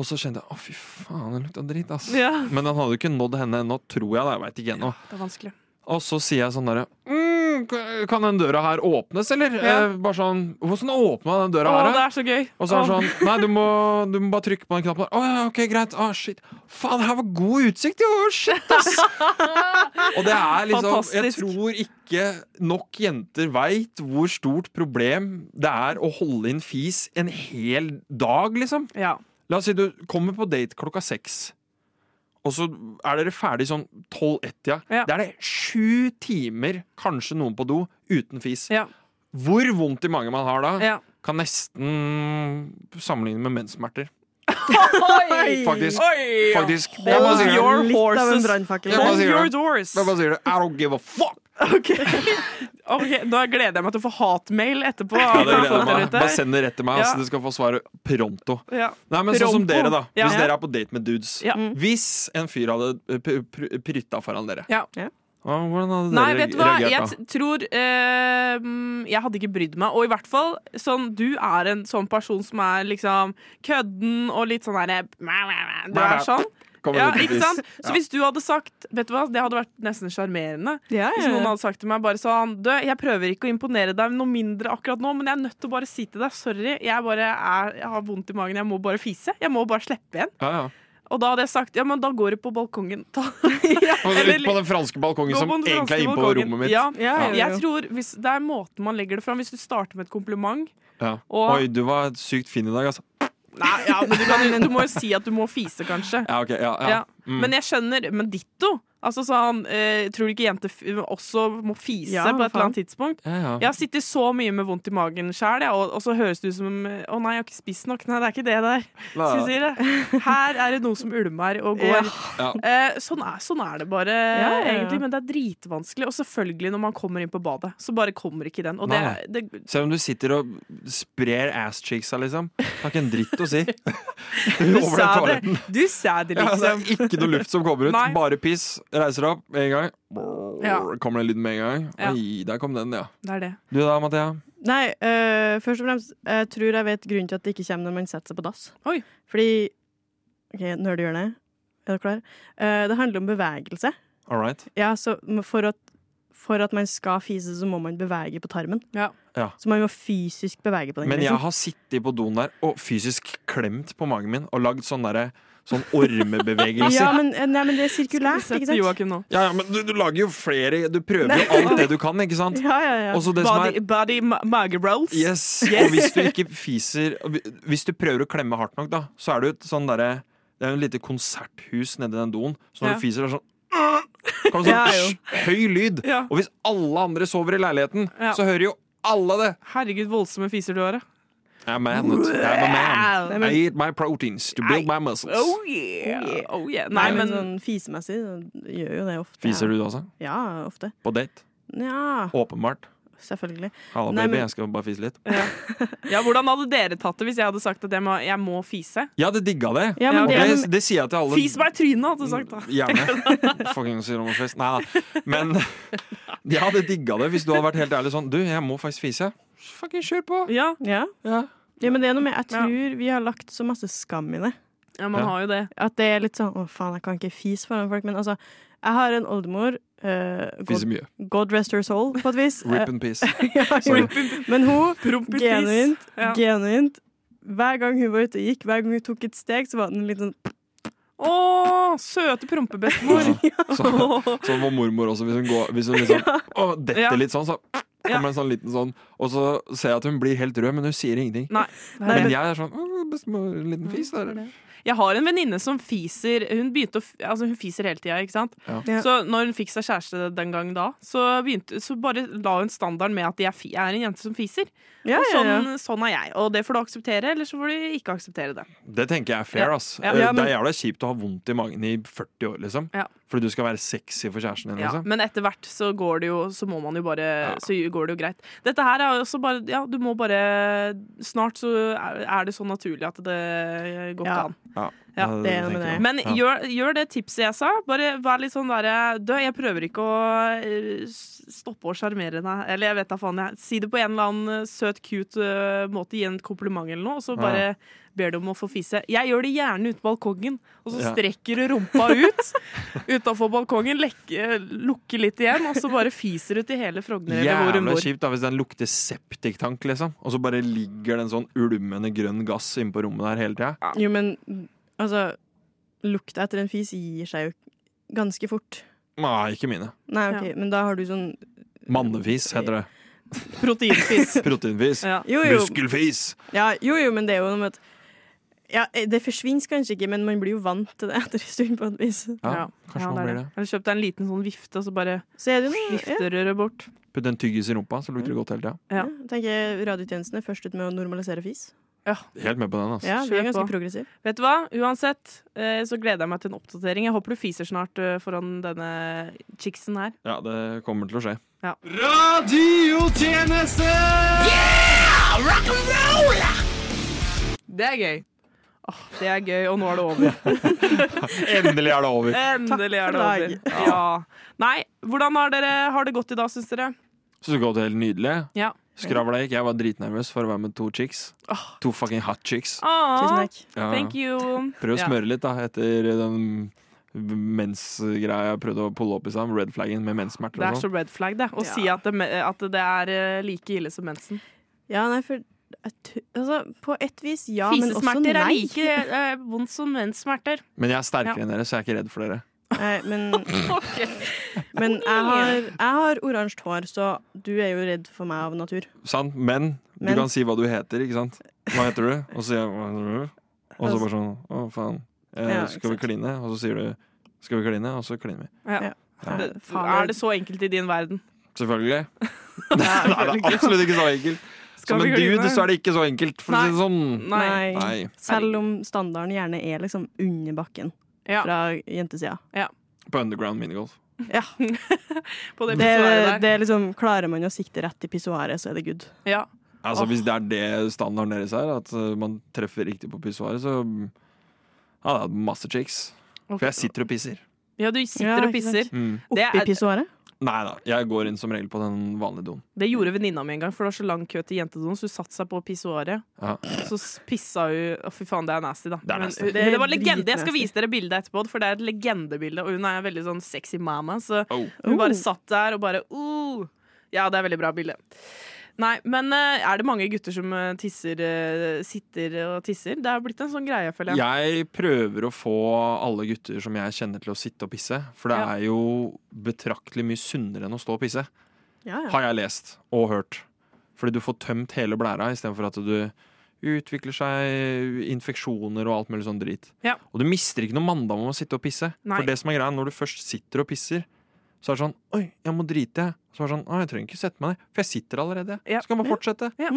[SPEAKER 5] Og så kjente jeg å, fy faen, den lukta dritt, ass.
[SPEAKER 1] Ja.
[SPEAKER 5] Men den hadde jo ikke nådd henne ennå, tror jeg. da, Jeg vet ikke ennå.
[SPEAKER 1] Det er vanskelig.
[SPEAKER 5] Og så sier jeg sånn derre mm, k- Kan den døra her åpnes, eller?
[SPEAKER 1] Ja.
[SPEAKER 5] Eh, bare sånn Hvordan åpna den døra
[SPEAKER 1] Å,
[SPEAKER 5] her?
[SPEAKER 1] det
[SPEAKER 5] da?»
[SPEAKER 1] er så gøy.
[SPEAKER 5] Og så er det
[SPEAKER 1] Å.
[SPEAKER 5] sånn Nei, du må, du må bare trykke på den knappen der. Å ja, ok, greit. Å, shit. Faen, det her var god utsikt, jo! Shit, ass! Og det er liksom Jeg
[SPEAKER 1] Fantastisk.
[SPEAKER 5] tror ikke nok jenter veit hvor stort problem det er å holde inn fis en hel dag, liksom.
[SPEAKER 1] Ja.
[SPEAKER 5] La oss si du kommer på date klokka seks. Og så er dere ferdig sånn 12-1-tida.
[SPEAKER 1] Ja.
[SPEAKER 5] Da er det sju timer, kanskje noen på do, uten fis.
[SPEAKER 1] Ja.
[SPEAKER 5] Hvor vondt i mange man har da,
[SPEAKER 1] Ja.
[SPEAKER 5] kan nesten sammenligne med menssmerter.
[SPEAKER 1] Oi!
[SPEAKER 5] Faktisk.
[SPEAKER 1] Oi!
[SPEAKER 5] Faktisk. Jeg bare
[SPEAKER 1] Hold
[SPEAKER 5] sier det.
[SPEAKER 1] your
[SPEAKER 6] Litt av en
[SPEAKER 1] horses.
[SPEAKER 6] brannfakkel.
[SPEAKER 5] Jeg bare
[SPEAKER 1] Hold
[SPEAKER 5] sier
[SPEAKER 1] your
[SPEAKER 5] det.
[SPEAKER 1] doors.
[SPEAKER 5] Jeg bare sier det. I don't give a fuck!
[SPEAKER 1] Ok, Ok, Da gleder jeg meg til å få hatmail etterpå.
[SPEAKER 5] Ja, det gleder jeg
[SPEAKER 1] Dere
[SPEAKER 5] meg.
[SPEAKER 1] ute.
[SPEAKER 5] Bare send det rett til meg,
[SPEAKER 1] Ja.
[SPEAKER 5] så du skal få svaret pronto.
[SPEAKER 1] Ja.
[SPEAKER 5] Nei, men sånn som
[SPEAKER 1] Pronto.
[SPEAKER 5] dere, da.
[SPEAKER 1] Ja.
[SPEAKER 5] Hvis dere er på date med dudes.
[SPEAKER 1] Ja.
[SPEAKER 5] Hvis en fyr hadde eh, pr- pr- prytta foran dere,
[SPEAKER 1] Ja.
[SPEAKER 6] Ja.
[SPEAKER 5] hva- hvordan hadde dere
[SPEAKER 1] Nei, vet du hva?
[SPEAKER 5] reagert da?
[SPEAKER 1] Jeg t- tror eh, mm, Jeg hadde ikke brydd meg. Og i hvert fall sånn Du er en sånn person som er liksom kødden og litt sånn derre Du er sånn.
[SPEAKER 5] Kommer
[SPEAKER 1] Ja,
[SPEAKER 5] det til
[SPEAKER 1] ikke
[SPEAKER 5] piss.
[SPEAKER 1] sant? Så
[SPEAKER 5] Ja.
[SPEAKER 1] hvis du hadde sagt Vet du hva, det hadde vært nesten sjarmerende.
[SPEAKER 6] Ja,
[SPEAKER 1] Hvis noen hadde sagt til meg bare sånn Du, jeg prøver ikke å imponere deg noe mindre akkurat nå, men jeg er nødt til å bare si til deg sorry. Jeg bare er, jeg har vondt i magen. Jeg må bare fise. Jeg må bare slippe igjen.
[SPEAKER 5] Ja, ja.
[SPEAKER 1] Og da hadde jeg sagt ja, men da går du på balkongen. Ta.
[SPEAKER 5] Og det er litt
[SPEAKER 1] Eller-
[SPEAKER 5] på den franske balkongen
[SPEAKER 1] Gå
[SPEAKER 5] som
[SPEAKER 1] på den
[SPEAKER 5] egentlig er
[SPEAKER 1] franske
[SPEAKER 5] inne på
[SPEAKER 1] balkongen.
[SPEAKER 5] rommet mitt.
[SPEAKER 1] Ja,
[SPEAKER 6] Ja, ja, ja.
[SPEAKER 1] Jeg tror hvis, Det er måten man legger det fram. Hvis du starter med et kompliment
[SPEAKER 5] Ja.
[SPEAKER 1] Og-
[SPEAKER 5] Oi, du var sykt fin i dag, altså.
[SPEAKER 1] Nei, ja, men du, kan, jo- du må jo si at du må fise, kanskje.
[SPEAKER 5] Ja, ok, ja, Mm. ja.
[SPEAKER 1] Ja. Men jeg skjønner. Men ditto. Altså sånn, eh, Tror du ikke jenter f også må fise
[SPEAKER 6] Ja,
[SPEAKER 1] på et eller
[SPEAKER 6] faen.
[SPEAKER 1] annet tidspunkt?
[SPEAKER 5] Ja, ja.
[SPEAKER 1] Jeg har sittet så mye med vondt i magen sjæl, og, og så høres det ut som eh, Å nei, jeg har ikke spist nok. Nei, det er ikke det der.
[SPEAKER 5] La-
[SPEAKER 1] Skal vi si det? Her er det noe som ulmer og går.
[SPEAKER 5] Ja.
[SPEAKER 1] Eh, sånn, er, sånn er det bare,
[SPEAKER 6] Ja, ja, ja.
[SPEAKER 1] egentlig. Men det er dritvanskelig. Og selvfølgelig, når man kommer inn på badet, så bare kommer ikke den. Og det,
[SPEAKER 5] Nei,
[SPEAKER 1] det,
[SPEAKER 5] Selv om du sitter og sprer ass-cheeksa, liksom. Har ikke en dritt å si.
[SPEAKER 1] du,
[SPEAKER 5] Over
[SPEAKER 1] sa
[SPEAKER 5] den
[SPEAKER 1] det,
[SPEAKER 5] toaletten.
[SPEAKER 1] du sa det,
[SPEAKER 5] Ja, altså, det
[SPEAKER 1] liksom.
[SPEAKER 5] er ikke noe luft som kommer ut.
[SPEAKER 1] Nei.
[SPEAKER 5] Bare piss. Reiser deg opp med en gang. Brrr,
[SPEAKER 1] Ja.
[SPEAKER 5] Kommer den lyden med en gang.
[SPEAKER 1] Ja.
[SPEAKER 5] Oi, der kom den, ja.
[SPEAKER 1] Det er det.
[SPEAKER 5] Du da, Mathea?
[SPEAKER 6] Nei, øh, først og fremst, jeg tror jeg vet grunnen til at det ikke kommer når man setter seg på dass.
[SPEAKER 1] Oi.
[SPEAKER 6] Fordi OK, nerdehjørnet. Er dere klare? Eh, det handler om bevegelse.
[SPEAKER 5] All right.
[SPEAKER 6] Ja, så for at, for at man skal fise, så må man bevege på tarmen.
[SPEAKER 1] Ja.
[SPEAKER 5] Ja.
[SPEAKER 6] Så man må fysisk bevege på den.
[SPEAKER 5] Men jeg
[SPEAKER 6] liksom.
[SPEAKER 5] har sittet på doen der og fysisk klemt på magen min og lagd sånne, derre- sånn sånne ormebevegelser.
[SPEAKER 6] ja, men, eh, nei, men det er sirkulært,
[SPEAKER 1] Sett
[SPEAKER 6] ikke sant?
[SPEAKER 1] Joakim nå.
[SPEAKER 5] Ja, ja, men du, du lager jo flere Du prøver jo alt det du kan, ikke sant?
[SPEAKER 6] Ja, ja, ja.
[SPEAKER 5] Og så det som er
[SPEAKER 1] Body, body ma- mage rolls.
[SPEAKER 5] Yes, og hvis du ikke fiser Hvis du prøver å klemme hardt nok, da, så er du et sånn derre Det er jo en lite konserthus nedi den doen, så når
[SPEAKER 1] Ja.
[SPEAKER 5] du fiser, er det sånn Kommer sånn
[SPEAKER 6] Ja, jo.
[SPEAKER 5] høy lyd.
[SPEAKER 1] Ja.
[SPEAKER 5] Og hvis alle andre sover i leiligheten,
[SPEAKER 1] Ja.
[SPEAKER 5] så hører jo alle det.
[SPEAKER 1] Herregud, voldsomme fiser du har. da.
[SPEAKER 5] I'm a man. I'm a man.
[SPEAKER 6] Nei,
[SPEAKER 5] I eat my proteins to build my muscles.
[SPEAKER 1] Oh yeah.
[SPEAKER 6] Oh, yeah.
[SPEAKER 1] Oh, yeah. Nei,
[SPEAKER 6] Nei, men
[SPEAKER 1] men
[SPEAKER 6] sånn fisemessig så gjør jo det ofte.
[SPEAKER 5] Fiser du da også?
[SPEAKER 6] Ja, ofte.
[SPEAKER 5] På date?
[SPEAKER 6] Ja,
[SPEAKER 5] Åpenbart.
[SPEAKER 6] selvfølgelig.
[SPEAKER 5] Halla,
[SPEAKER 6] Nei,
[SPEAKER 5] baby,
[SPEAKER 6] men-
[SPEAKER 5] jeg skal bare fise litt.
[SPEAKER 1] ja, Hvordan hadde dere tatt det hvis jeg hadde sagt at jeg må, jeg må fise?
[SPEAKER 5] Jeg hadde digga det.
[SPEAKER 1] Ja,
[SPEAKER 6] Ja, men
[SPEAKER 5] Og
[SPEAKER 6] det
[SPEAKER 5] det,
[SPEAKER 6] er
[SPEAKER 5] det sier jeg til alle. Mm.
[SPEAKER 1] Fis meg i trynet, hadde du sagt da.
[SPEAKER 5] Gjerne. Fucking syromerfest. Nei da. Men jeg hadde digga det hvis du hadde vært helt ærlig sånn Du, jeg må faktisk fise. Fucking kjør på.
[SPEAKER 1] Ja,
[SPEAKER 6] noe- ja.
[SPEAKER 5] Ja.
[SPEAKER 6] ja, men det er noe med Jeg
[SPEAKER 1] Ja.
[SPEAKER 6] tror vi har lagt så masse skam i det.
[SPEAKER 1] ja man
[SPEAKER 5] Ja.
[SPEAKER 1] har jo det.
[SPEAKER 6] At det er litt sånn Å, faen, jeg kan ikke fise foran folk. Men altså, jeg har en oldemor. eh,
[SPEAKER 5] Fise
[SPEAKER 6] God,
[SPEAKER 5] mye.
[SPEAKER 6] God rest her soul, på et vis.
[SPEAKER 5] Rip and peace.
[SPEAKER 6] Eh, ja,
[SPEAKER 5] Sorry.
[SPEAKER 6] jo. Men hun,
[SPEAKER 1] Prompefis.
[SPEAKER 6] genuint,
[SPEAKER 1] Ja.
[SPEAKER 6] genuint Hver gang hun var ute og gikk, hver gang hun tok et steg, så var den litt sånn
[SPEAKER 1] Å, søte prompebestemor.
[SPEAKER 5] Ja. Så, sånn var mormor også, hvis hun, går, hvis hun liksom Å, detter
[SPEAKER 1] Ja.
[SPEAKER 5] litt sånn, så
[SPEAKER 1] Ja.
[SPEAKER 5] kommer en sånn liten sånn. Og så ser jeg at hun blir helt rød, men hun sier ingenting.
[SPEAKER 1] Nei.
[SPEAKER 6] Nei,
[SPEAKER 5] Men
[SPEAKER 6] men-
[SPEAKER 5] jeg er sånn «Å, Bestemor, en liten fis. Der.
[SPEAKER 1] Jeg har en venninne som fiser Hun begynte å, f- altså hun fiser hele tida, ikke sant?
[SPEAKER 5] Ja.
[SPEAKER 6] Ja.
[SPEAKER 1] Så når hun fikk seg kjæreste den gang da, så, begynte, så bare la hun standarden med at jeg, fi- jeg er en jente som fiser.
[SPEAKER 6] Ja,
[SPEAKER 1] Og
[SPEAKER 6] ja, ja.
[SPEAKER 1] sånn, sånn er jeg. Og det får du akseptere, eller så får du ikke akseptere det.
[SPEAKER 5] Det tenker jeg er fair, ass. Eh,
[SPEAKER 1] Ja.
[SPEAKER 6] Ja,
[SPEAKER 5] det
[SPEAKER 6] men-
[SPEAKER 5] er jævla kjipt å ha vondt i magen i 40 år, liksom.
[SPEAKER 1] Ja.
[SPEAKER 5] Fordi du skal være sexy for kjæresten din,
[SPEAKER 1] Ja,
[SPEAKER 5] liksom.
[SPEAKER 1] men etter hvert så går det jo Så må man jo bare Så går det jo greit. Dette her er jo også bare Ja, du må bare Snart så er er det så naturlig at det går ikke
[SPEAKER 6] Ja.
[SPEAKER 1] an.
[SPEAKER 5] Ja,
[SPEAKER 1] Ja,
[SPEAKER 6] det er
[SPEAKER 5] Eh, tenker
[SPEAKER 6] med
[SPEAKER 5] jeg.
[SPEAKER 6] det.
[SPEAKER 1] Men
[SPEAKER 5] Ja.
[SPEAKER 1] gjør, gjør det tipset jeg sa. Bare vær litt sånn derre Du, jeg prøver ikke å eh, s- stoppe å sjarmere deg. Eller jeg vet da faen, jeg. Si det på en eller annen eh, søt, cute eh, måte. Gi en kompliment eller noe, og så bare ber du om å få fise. Jeg gjør det gjerne ute på balkongen, og så
[SPEAKER 5] Ja.
[SPEAKER 1] strekker du rumpa ut utafor balkongen, lekke, lukker litt igjen, og så bare fiser du til hele Frogner eller hvor hun
[SPEAKER 5] Jævla
[SPEAKER 1] bor.
[SPEAKER 5] kjipt da hvis den lukter septiktank, liksom. Og så bare ligger det en sånn ulmende grønn gass inne på rommet der hele tida.
[SPEAKER 6] Jo, men altså Lukta etter en fis gir seg jo ganske fort.
[SPEAKER 5] Nei, ikke mine.
[SPEAKER 6] Nei, OK, men da har du sånn
[SPEAKER 5] Mannefis heter det.
[SPEAKER 1] Proteinfis.
[SPEAKER 5] Proteinfis.
[SPEAKER 1] Ja.
[SPEAKER 6] Jo, jo.
[SPEAKER 5] Muskelfis!
[SPEAKER 6] Ja, jo, jo, men det er jo noe med at ja, eh, Det forsvinner kanskje ikke, men man blir jo vant til det etter en stund. på et vis
[SPEAKER 5] Ja,
[SPEAKER 1] Ja, det
[SPEAKER 5] kanskje man
[SPEAKER 1] er
[SPEAKER 5] blir
[SPEAKER 1] det.
[SPEAKER 5] det.
[SPEAKER 1] Eller kjøp deg en liten sånn vifte, og så bare
[SPEAKER 6] Så er det jo noe ja,
[SPEAKER 1] vifter du det bort.
[SPEAKER 5] Putt en tyggis i rumpa, så
[SPEAKER 1] Mm.
[SPEAKER 5] lukter det godt hele tida.
[SPEAKER 1] Ja.
[SPEAKER 6] ja. tenker jeg Radiotjenesten er først ut med å normalisere fis.
[SPEAKER 5] Helt med på den, altså.
[SPEAKER 6] Ja, Vi
[SPEAKER 1] Kjør
[SPEAKER 6] er
[SPEAKER 1] på.
[SPEAKER 6] ganske progressive.
[SPEAKER 1] Vet du hva? Uansett eh, så gleder jeg meg til en oppdatering. Jeg håper du fiser snart eh, foran denne chicksen her.
[SPEAKER 5] Ja, det kommer til å skje.
[SPEAKER 1] Det er gøy. Åh, det er gøy, og nå er det over.
[SPEAKER 5] Endelig er det over!
[SPEAKER 1] Endelig er det
[SPEAKER 6] for
[SPEAKER 1] over.
[SPEAKER 6] deg.
[SPEAKER 1] Ja. Nei, hvordan har dere har det gått i dag, syns dere?
[SPEAKER 5] Syns du ikke det var helt nydelig?
[SPEAKER 1] Ja.
[SPEAKER 5] Skravla gikk. Jeg var dritnervøs for å være med to chicks.
[SPEAKER 1] Åh.
[SPEAKER 5] To fucking hot chicks.
[SPEAKER 1] Ah,
[SPEAKER 6] Tusen takk.
[SPEAKER 5] Ja.
[SPEAKER 1] thank you.
[SPEAKER 5] Prøv å
[SPEAKER 1] Ja.
[SPEAKER 5] smøre litt, da, etter den mensgreia jeg prøvde å pulle opp i sammen. Red flaggen med menssmerter
[SPEAKER 1] Det er
[SPEAKER 5] og
[SPEAKER 1] så
[SPEAKER 5] sånn.
[SPEAKER 1] red flag, det. Å
[SPEAKER 6] Ja.
[SPEAKER 1] si at det, me- at det er eh, like ille som mensen.
[SPEAKER 6] Ja, nei, for jeg tu- altså, På et vis ja, men også
[SPEAKER 1] Fisesmerter
[SPEAKER 6] nei.
[SPEAKER 1] er like eh, vondt som menssmerter.
[SPEAKER 5] Men jeg er sterkere
[SPEAKER 1] Ja.
[SPEAKER 5] enn dere, så jeg er ikke redd for dere.
[SPEAKER 6] Nei, men men jeg har, jeg har oransje hår, så du er jo redd for meg av natur.
[SPEAKER 5] Sant? Men du
[SPEAKER 6] Men-
[SPEAKER 5] kan si hva du heter, ikke sant? Hva heter du? Og så sier jeg hva heter du? Og så bare sånn Å, faen. Eh,
[SPEAKER 6] Altså- Ja,
[SPEAKER 5] skal vi
[SPEAKER 6] ikke sant.
[SPEAKER 5] kline? Og så sier du skal vi kline? Og så kliner vi.
[SPEAKER 1] Ja.
[SPEAKER 5] Ja.
[SPEAKER 1] Det,
[SPEAKER 6] Faen,
[SPEAKER 1] er det så enkelt i din verden?
[SPEAKER 5] Selvfølgelig. Nei, det er absolutt ikke så enkelt. Som en dude så er det ikke så enkelt, for å si det sånn.
[SPEAKER 1] Nei.
[SPEAKER 5] Nei.
[SPEAKER 6] Selv om standarden gjerne er liksom under bakken
[SPEAKER 1] Ja.
[SPEAKER 6] fra jentesida.
[SPEAKER 5] På underground minigolf.
[SPEAKER 6] Ja.
[SPEAKER 1] På det pissoaret
[SPEAKER 6] Det,
[SPEAKER 1] der.
[SPEAKER 6] det er liksom, klarer man å sikte rett i pissoaret, så er det good.
[SPEAKER 1] Ja.
[SPEAKER 5] Altså,
[SPEAKER 1] Åh.
[SPEAKER 5] Hvis det er det standarden deres er, at uh, man treffer riktig på pissoaret, så mm, Ja, det er masse chicks. For jeg sitter og pisser.
[SPEAKER 1] ja, du
[SPEAKER 6] Ja,
[SPEAKER 1] sitter og
[SPEAKER 6] ikke
[SPEAKER 1] pisser.
[SPEAKER 6] sant.
[SPEAKER 5] Mm.
[SPEAKER 1] Det,
[SPEAKER 6] Oppi
[SPEAKER 1] er,
[SPEAKER 6] pissoaret?
[SPEAKER 5] Nei da, jeg går inn som regel på den vanlige doen.
[SPEAKER 1] det gjorde venninna mi en gang, for det var så lang kø til jentedoen, så hun satte seg på pissoaret.
[SPEAKER 5] Ja.
[SPEAKER 1] Så s- pissa hun Å, fy faen, det er nasty, da.
[SPEAKER 5] Det er nasty.
[SPEAKER 1] Men,
[SPEAKER 6] Det er
[SPEAKER 1] det var legende. Jeg skal
[SPEAKER 6] dritnasty.
[SPEAKER 1] vise dere bildet etterpå, for det er et legendebilde, og hun er veldig sånn sexy mama, så
[SPEAKER 5] Oh.
[SPEAKER 1] hun
[SPEAKER 6] Oh.
[SPEAKER 1] bare satt der og bare oh. Ja, det er veldig bra bilde. Nei, men eh, er det mange gutter som eh, tisser eh, sitter og tisser? Det er blitt en sånn greie, føler jeg.
[SPEAKER 5] Jeg prøver å få alle gutter som jeg kjenner til å sitte og pisse, for det
[SPEAKER 1] Ja.
[SPEAKER 5] er jo betraktelig mye sunnere enn å stå og pisse,
[SPEAKER 6] Ja, ja.
[SPEAKER 5] har jeg lest og hørt. Fordi du får tømt hele blæra istedenfor at du utvikler seg infeksjoner og alt mulig sånn drit.
[SPEAKER 1] Ja.
[SPEAKER 5] Og du mister ikke noe mandag om å sitte og pisse.
[SPEAKER 1] Nei.
[SPEAKER 5] For det som er greia, når du først sitter og pisser, så er det sånn Oi, jeg må drite, jeg. Så er det sånn Å, jeg trenger ikke sette meg ned, for jeg sitter allerede.
[SPEAKER 1] Ja.
[SPEAKER 5] Så kan man fortsette.
[SPEAKER 1] Ja.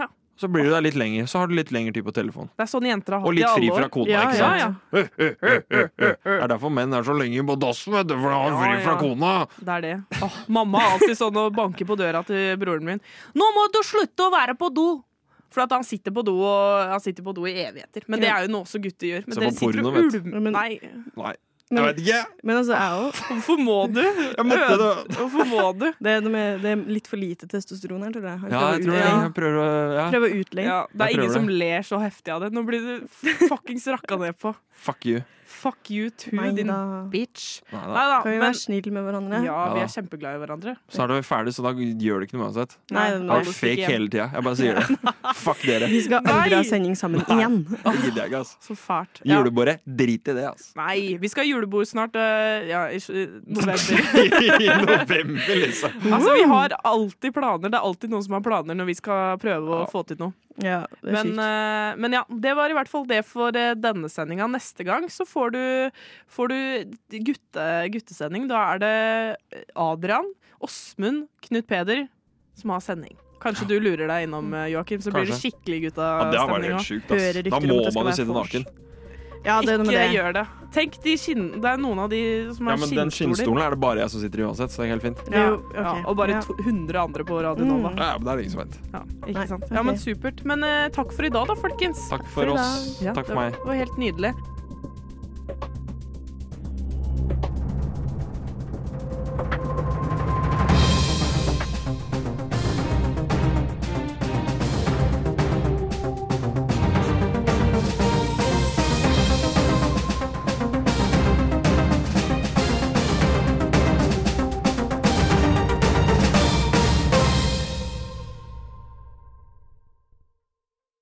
[SPEAKER 1] Ja.
[SPEAKER 5] Så blir du der litt lenger. Så har du litt lengre tid på telefonen.
[SPEAKER 1] Det er sånn jenter har hatt
[SPEAKER 5] Og litt
[SPEAKER 1] i alle
[SPEAKER 5] fri
[SPEAKER 1] år.
[SPEAKER 5] fra kona,
[SPEAKER 6] Ja,
[SPEAKER 5] ikke
[SPEAKER 1] ja,
[SPEAKER 5] sant?
[SPEAKER 1] ja.
[SPEAKER 5] Det er derfor menn er så lenge på dassen, vet du, for
[SPEAKER 1] Ja,
[SPEAKER 5] han er fri fra
[SPEAKER 1] ja.
[SPEAKER 5] kona.
[SPEAKER 1] Det er det. Åh, mamma er alltid sånn og banker på døra til broren min. 'Nå må du slutte å være på do!' For at han sitter på do og han sitter på do i evigheter. Men det er jo noe også gutter gjør. Men
[SPEAKER 5] Se
[SPEAKER 1] dere
[SPEAKER 5] på
[SPEAKER 1] sitter og
[SPEAKER 5] porno, vet
[SPEAKER 1] ulmer
[SPEAKER 6] Men-
[SPEAKER 1] Nei,
[SPEAKER 5] Nei,
[SPEAKER 6] Men-
[SPEAKER 5] jeg vet ikke.
[SPEAKER 6] Men altså, jeg òg.
[SPEAKER 1] hvorfor må du?
[SPEAKER 5] Jeg måtte det.
[SPEAKER 1] Hvorfor må du?
[SPEAKER 6] Det, er noe med- det er litt for lite testosteron her, tror jeg. Han
[SPEAKER 5] Ja,
[SPEAKER 6] prøver
[SPEAKER 5] jeg
[SPEAKER 6] å
[SPEAKER 5] tror det.
[SPEAKER 6] utlegge-
[SPEAKER 5] Jeg prøver å ja.
[SPEAKER 6] Prøver å utlegge.
[SPEAKER 1] Ja, det
[SPEAKER 5] Jeg
[SPEAKER 1] er
[SPEAKER 5] prøver
[SPEAKER 1] ingen
[SPEAKER 5] det.
[SPEAKER 1] som ler så heftig av det. Nå blir du f- fuckings rakka ned på.
[SPEAKER 5] Fuck you.
[SPEAKER 1] Fuck you too,
[SPEAKER 6] Nei,
[SPEAKER 1] din
[SPEAKER 6] da.
[SPEAKER 1] bitch.
[SPEAKER 5] Nei,
[SPEAKER 1] Nei
[SPEAKER 5] da.
[SPEAKER 1] da,
[SPEAKER 6] Kan vi
[SPEAKER 1] men
[SPEAKER 6] være snille med
[SPEAKER 1] ja,
[SPEAKER 6] hverandre?
[SPEAKER 5] Ja
[SPEAKER 1] vi
[SPEAKER 5] da.
[SPEAKER 1] er kjempeglade i hverandre.
[SPEAKER 5] Så er det ferdig, så da gjør det ikke noe uansett.
[SPEAKER 6] Nei,
[SPEAKER 1] Nei,
[SPEAKER 6] det
[SPEAKER 5] Jeg
[SPEAKER 1] Nei,
[SPEAKER 5] har
[SPEAKER 1] det
[SPEAKER 5] vært
[SPEAKER 1] stikker
[SPEAKER 5] fake
[SPEAKER 1] hjem.
[SPEAKER 5] hele tida. Jeg bare sier det. Fuck dere.
[SPEAKER 6] Vi skal aldri ha
[SPEAKER 1] Nei!
[SPEAKER 6] sending sammen igjen.
[SPEAKER 5] Det gidder jeg ikke, ass.
[SPEAKER 1] Så fælt. Ja.
[SPEAKER 5] Julebordet, drit i det, ass.
[SPEAKER 1] Nei, vi skal ha julebord snart. øh, Ja, i s- november.
[SPEAKER 5] I november, liksom.
[SPEAKER 1] Altså,
[SPEAKER 6] Mm.
[SPEAKER 1] Vi har alltid planer. Det er alltid noen som har planer når vi skal prøve å
[SPEAKER 5] Ja.
[SPEAKER 1] få til noe.
[SPEAKER 6] Ja, det er
[SPEAKER 1] Men,
[SPEAKER 6] sykt.
[SPEAKER 1] eh, men ja, det var i hvert fall det for eh, denne sendinga. Neste gang så får du, får du gutte, guttesending. Da er det eh, Adrian, Åsmund, Knut Peder som har sending. Kanskje du lurer deg innom, eh, Joakim, så blir det
[SPEAKER 5] Kanskje.
[SPEAKER 1] skikkelig
[SPEAKER 5] Ja, det har vært
[SPEAKER 1] guttastemning.
[SPEAKER 5] helt
[SPEAKER 1] også.
[SPEAKER 5] sjukt,
[SPEAKER 6] Hører
[SPEAKER 5] ass.
[SPEAKER 6] rykter
[SPEAKER 5] Da
[SPEAKER 6] om
[SPEAKER 5] må
[SPEAKER 6] at det skal
[SPEAKER 5] man jo
[SPEAKER 6] være
[SPEAKER 5] sitte
[SPEAKER 6] vors.
[SPEAKER 5] naken.
[SPEAKER 6] ja, det er noe med
[SPEAKER 1] Ikke
[SPEAKER 6] det.
[SPEAKER 1] gjør det. Tenk, de skinn, det er noen av de som
[SPEAKER 5] Ja,
[SPEAKER 1] har
[SPEAKER 5] men den
[SPEAKER 1] skinnstoler.
[SPEAKER 5] skinnstolen er det bare jeg som sitter i uansett, så det er helt fint.
[SPEAKER 6] Det er jo-
[SPEAKER 1] ja,
[SPEAKER 6] ok.
[SPEAKER 1] og bare
[SPEAKER 6] Ja.
[SPEAKER 1] to- 100 andre på Radio
[SPEAKER 6] Mm.
[SPEAKER 1] Nova.
[SPEAKER 5] Ja, men det er det ingen som vet.
[SPEAKER 1] Ja, ikke
[SPEAKER 6] Nei,
[SPEAKER 1] sant?
[SPEAKER 6] ok.
[SPEAKER 1] ja men supert. Men eh, takk for i dag, da, folkens.
[SPEAKER 5] Takk
[SPEAKER 6] for i
[SPEAKER 5] for oss.
[SPEAKER 1] Ja,
[SPEAKER 5] Takk
[SPEAKER 1] det
[SPEAKER 5] for meg.
[SPEAKER 1] var- Det var helt nydelig.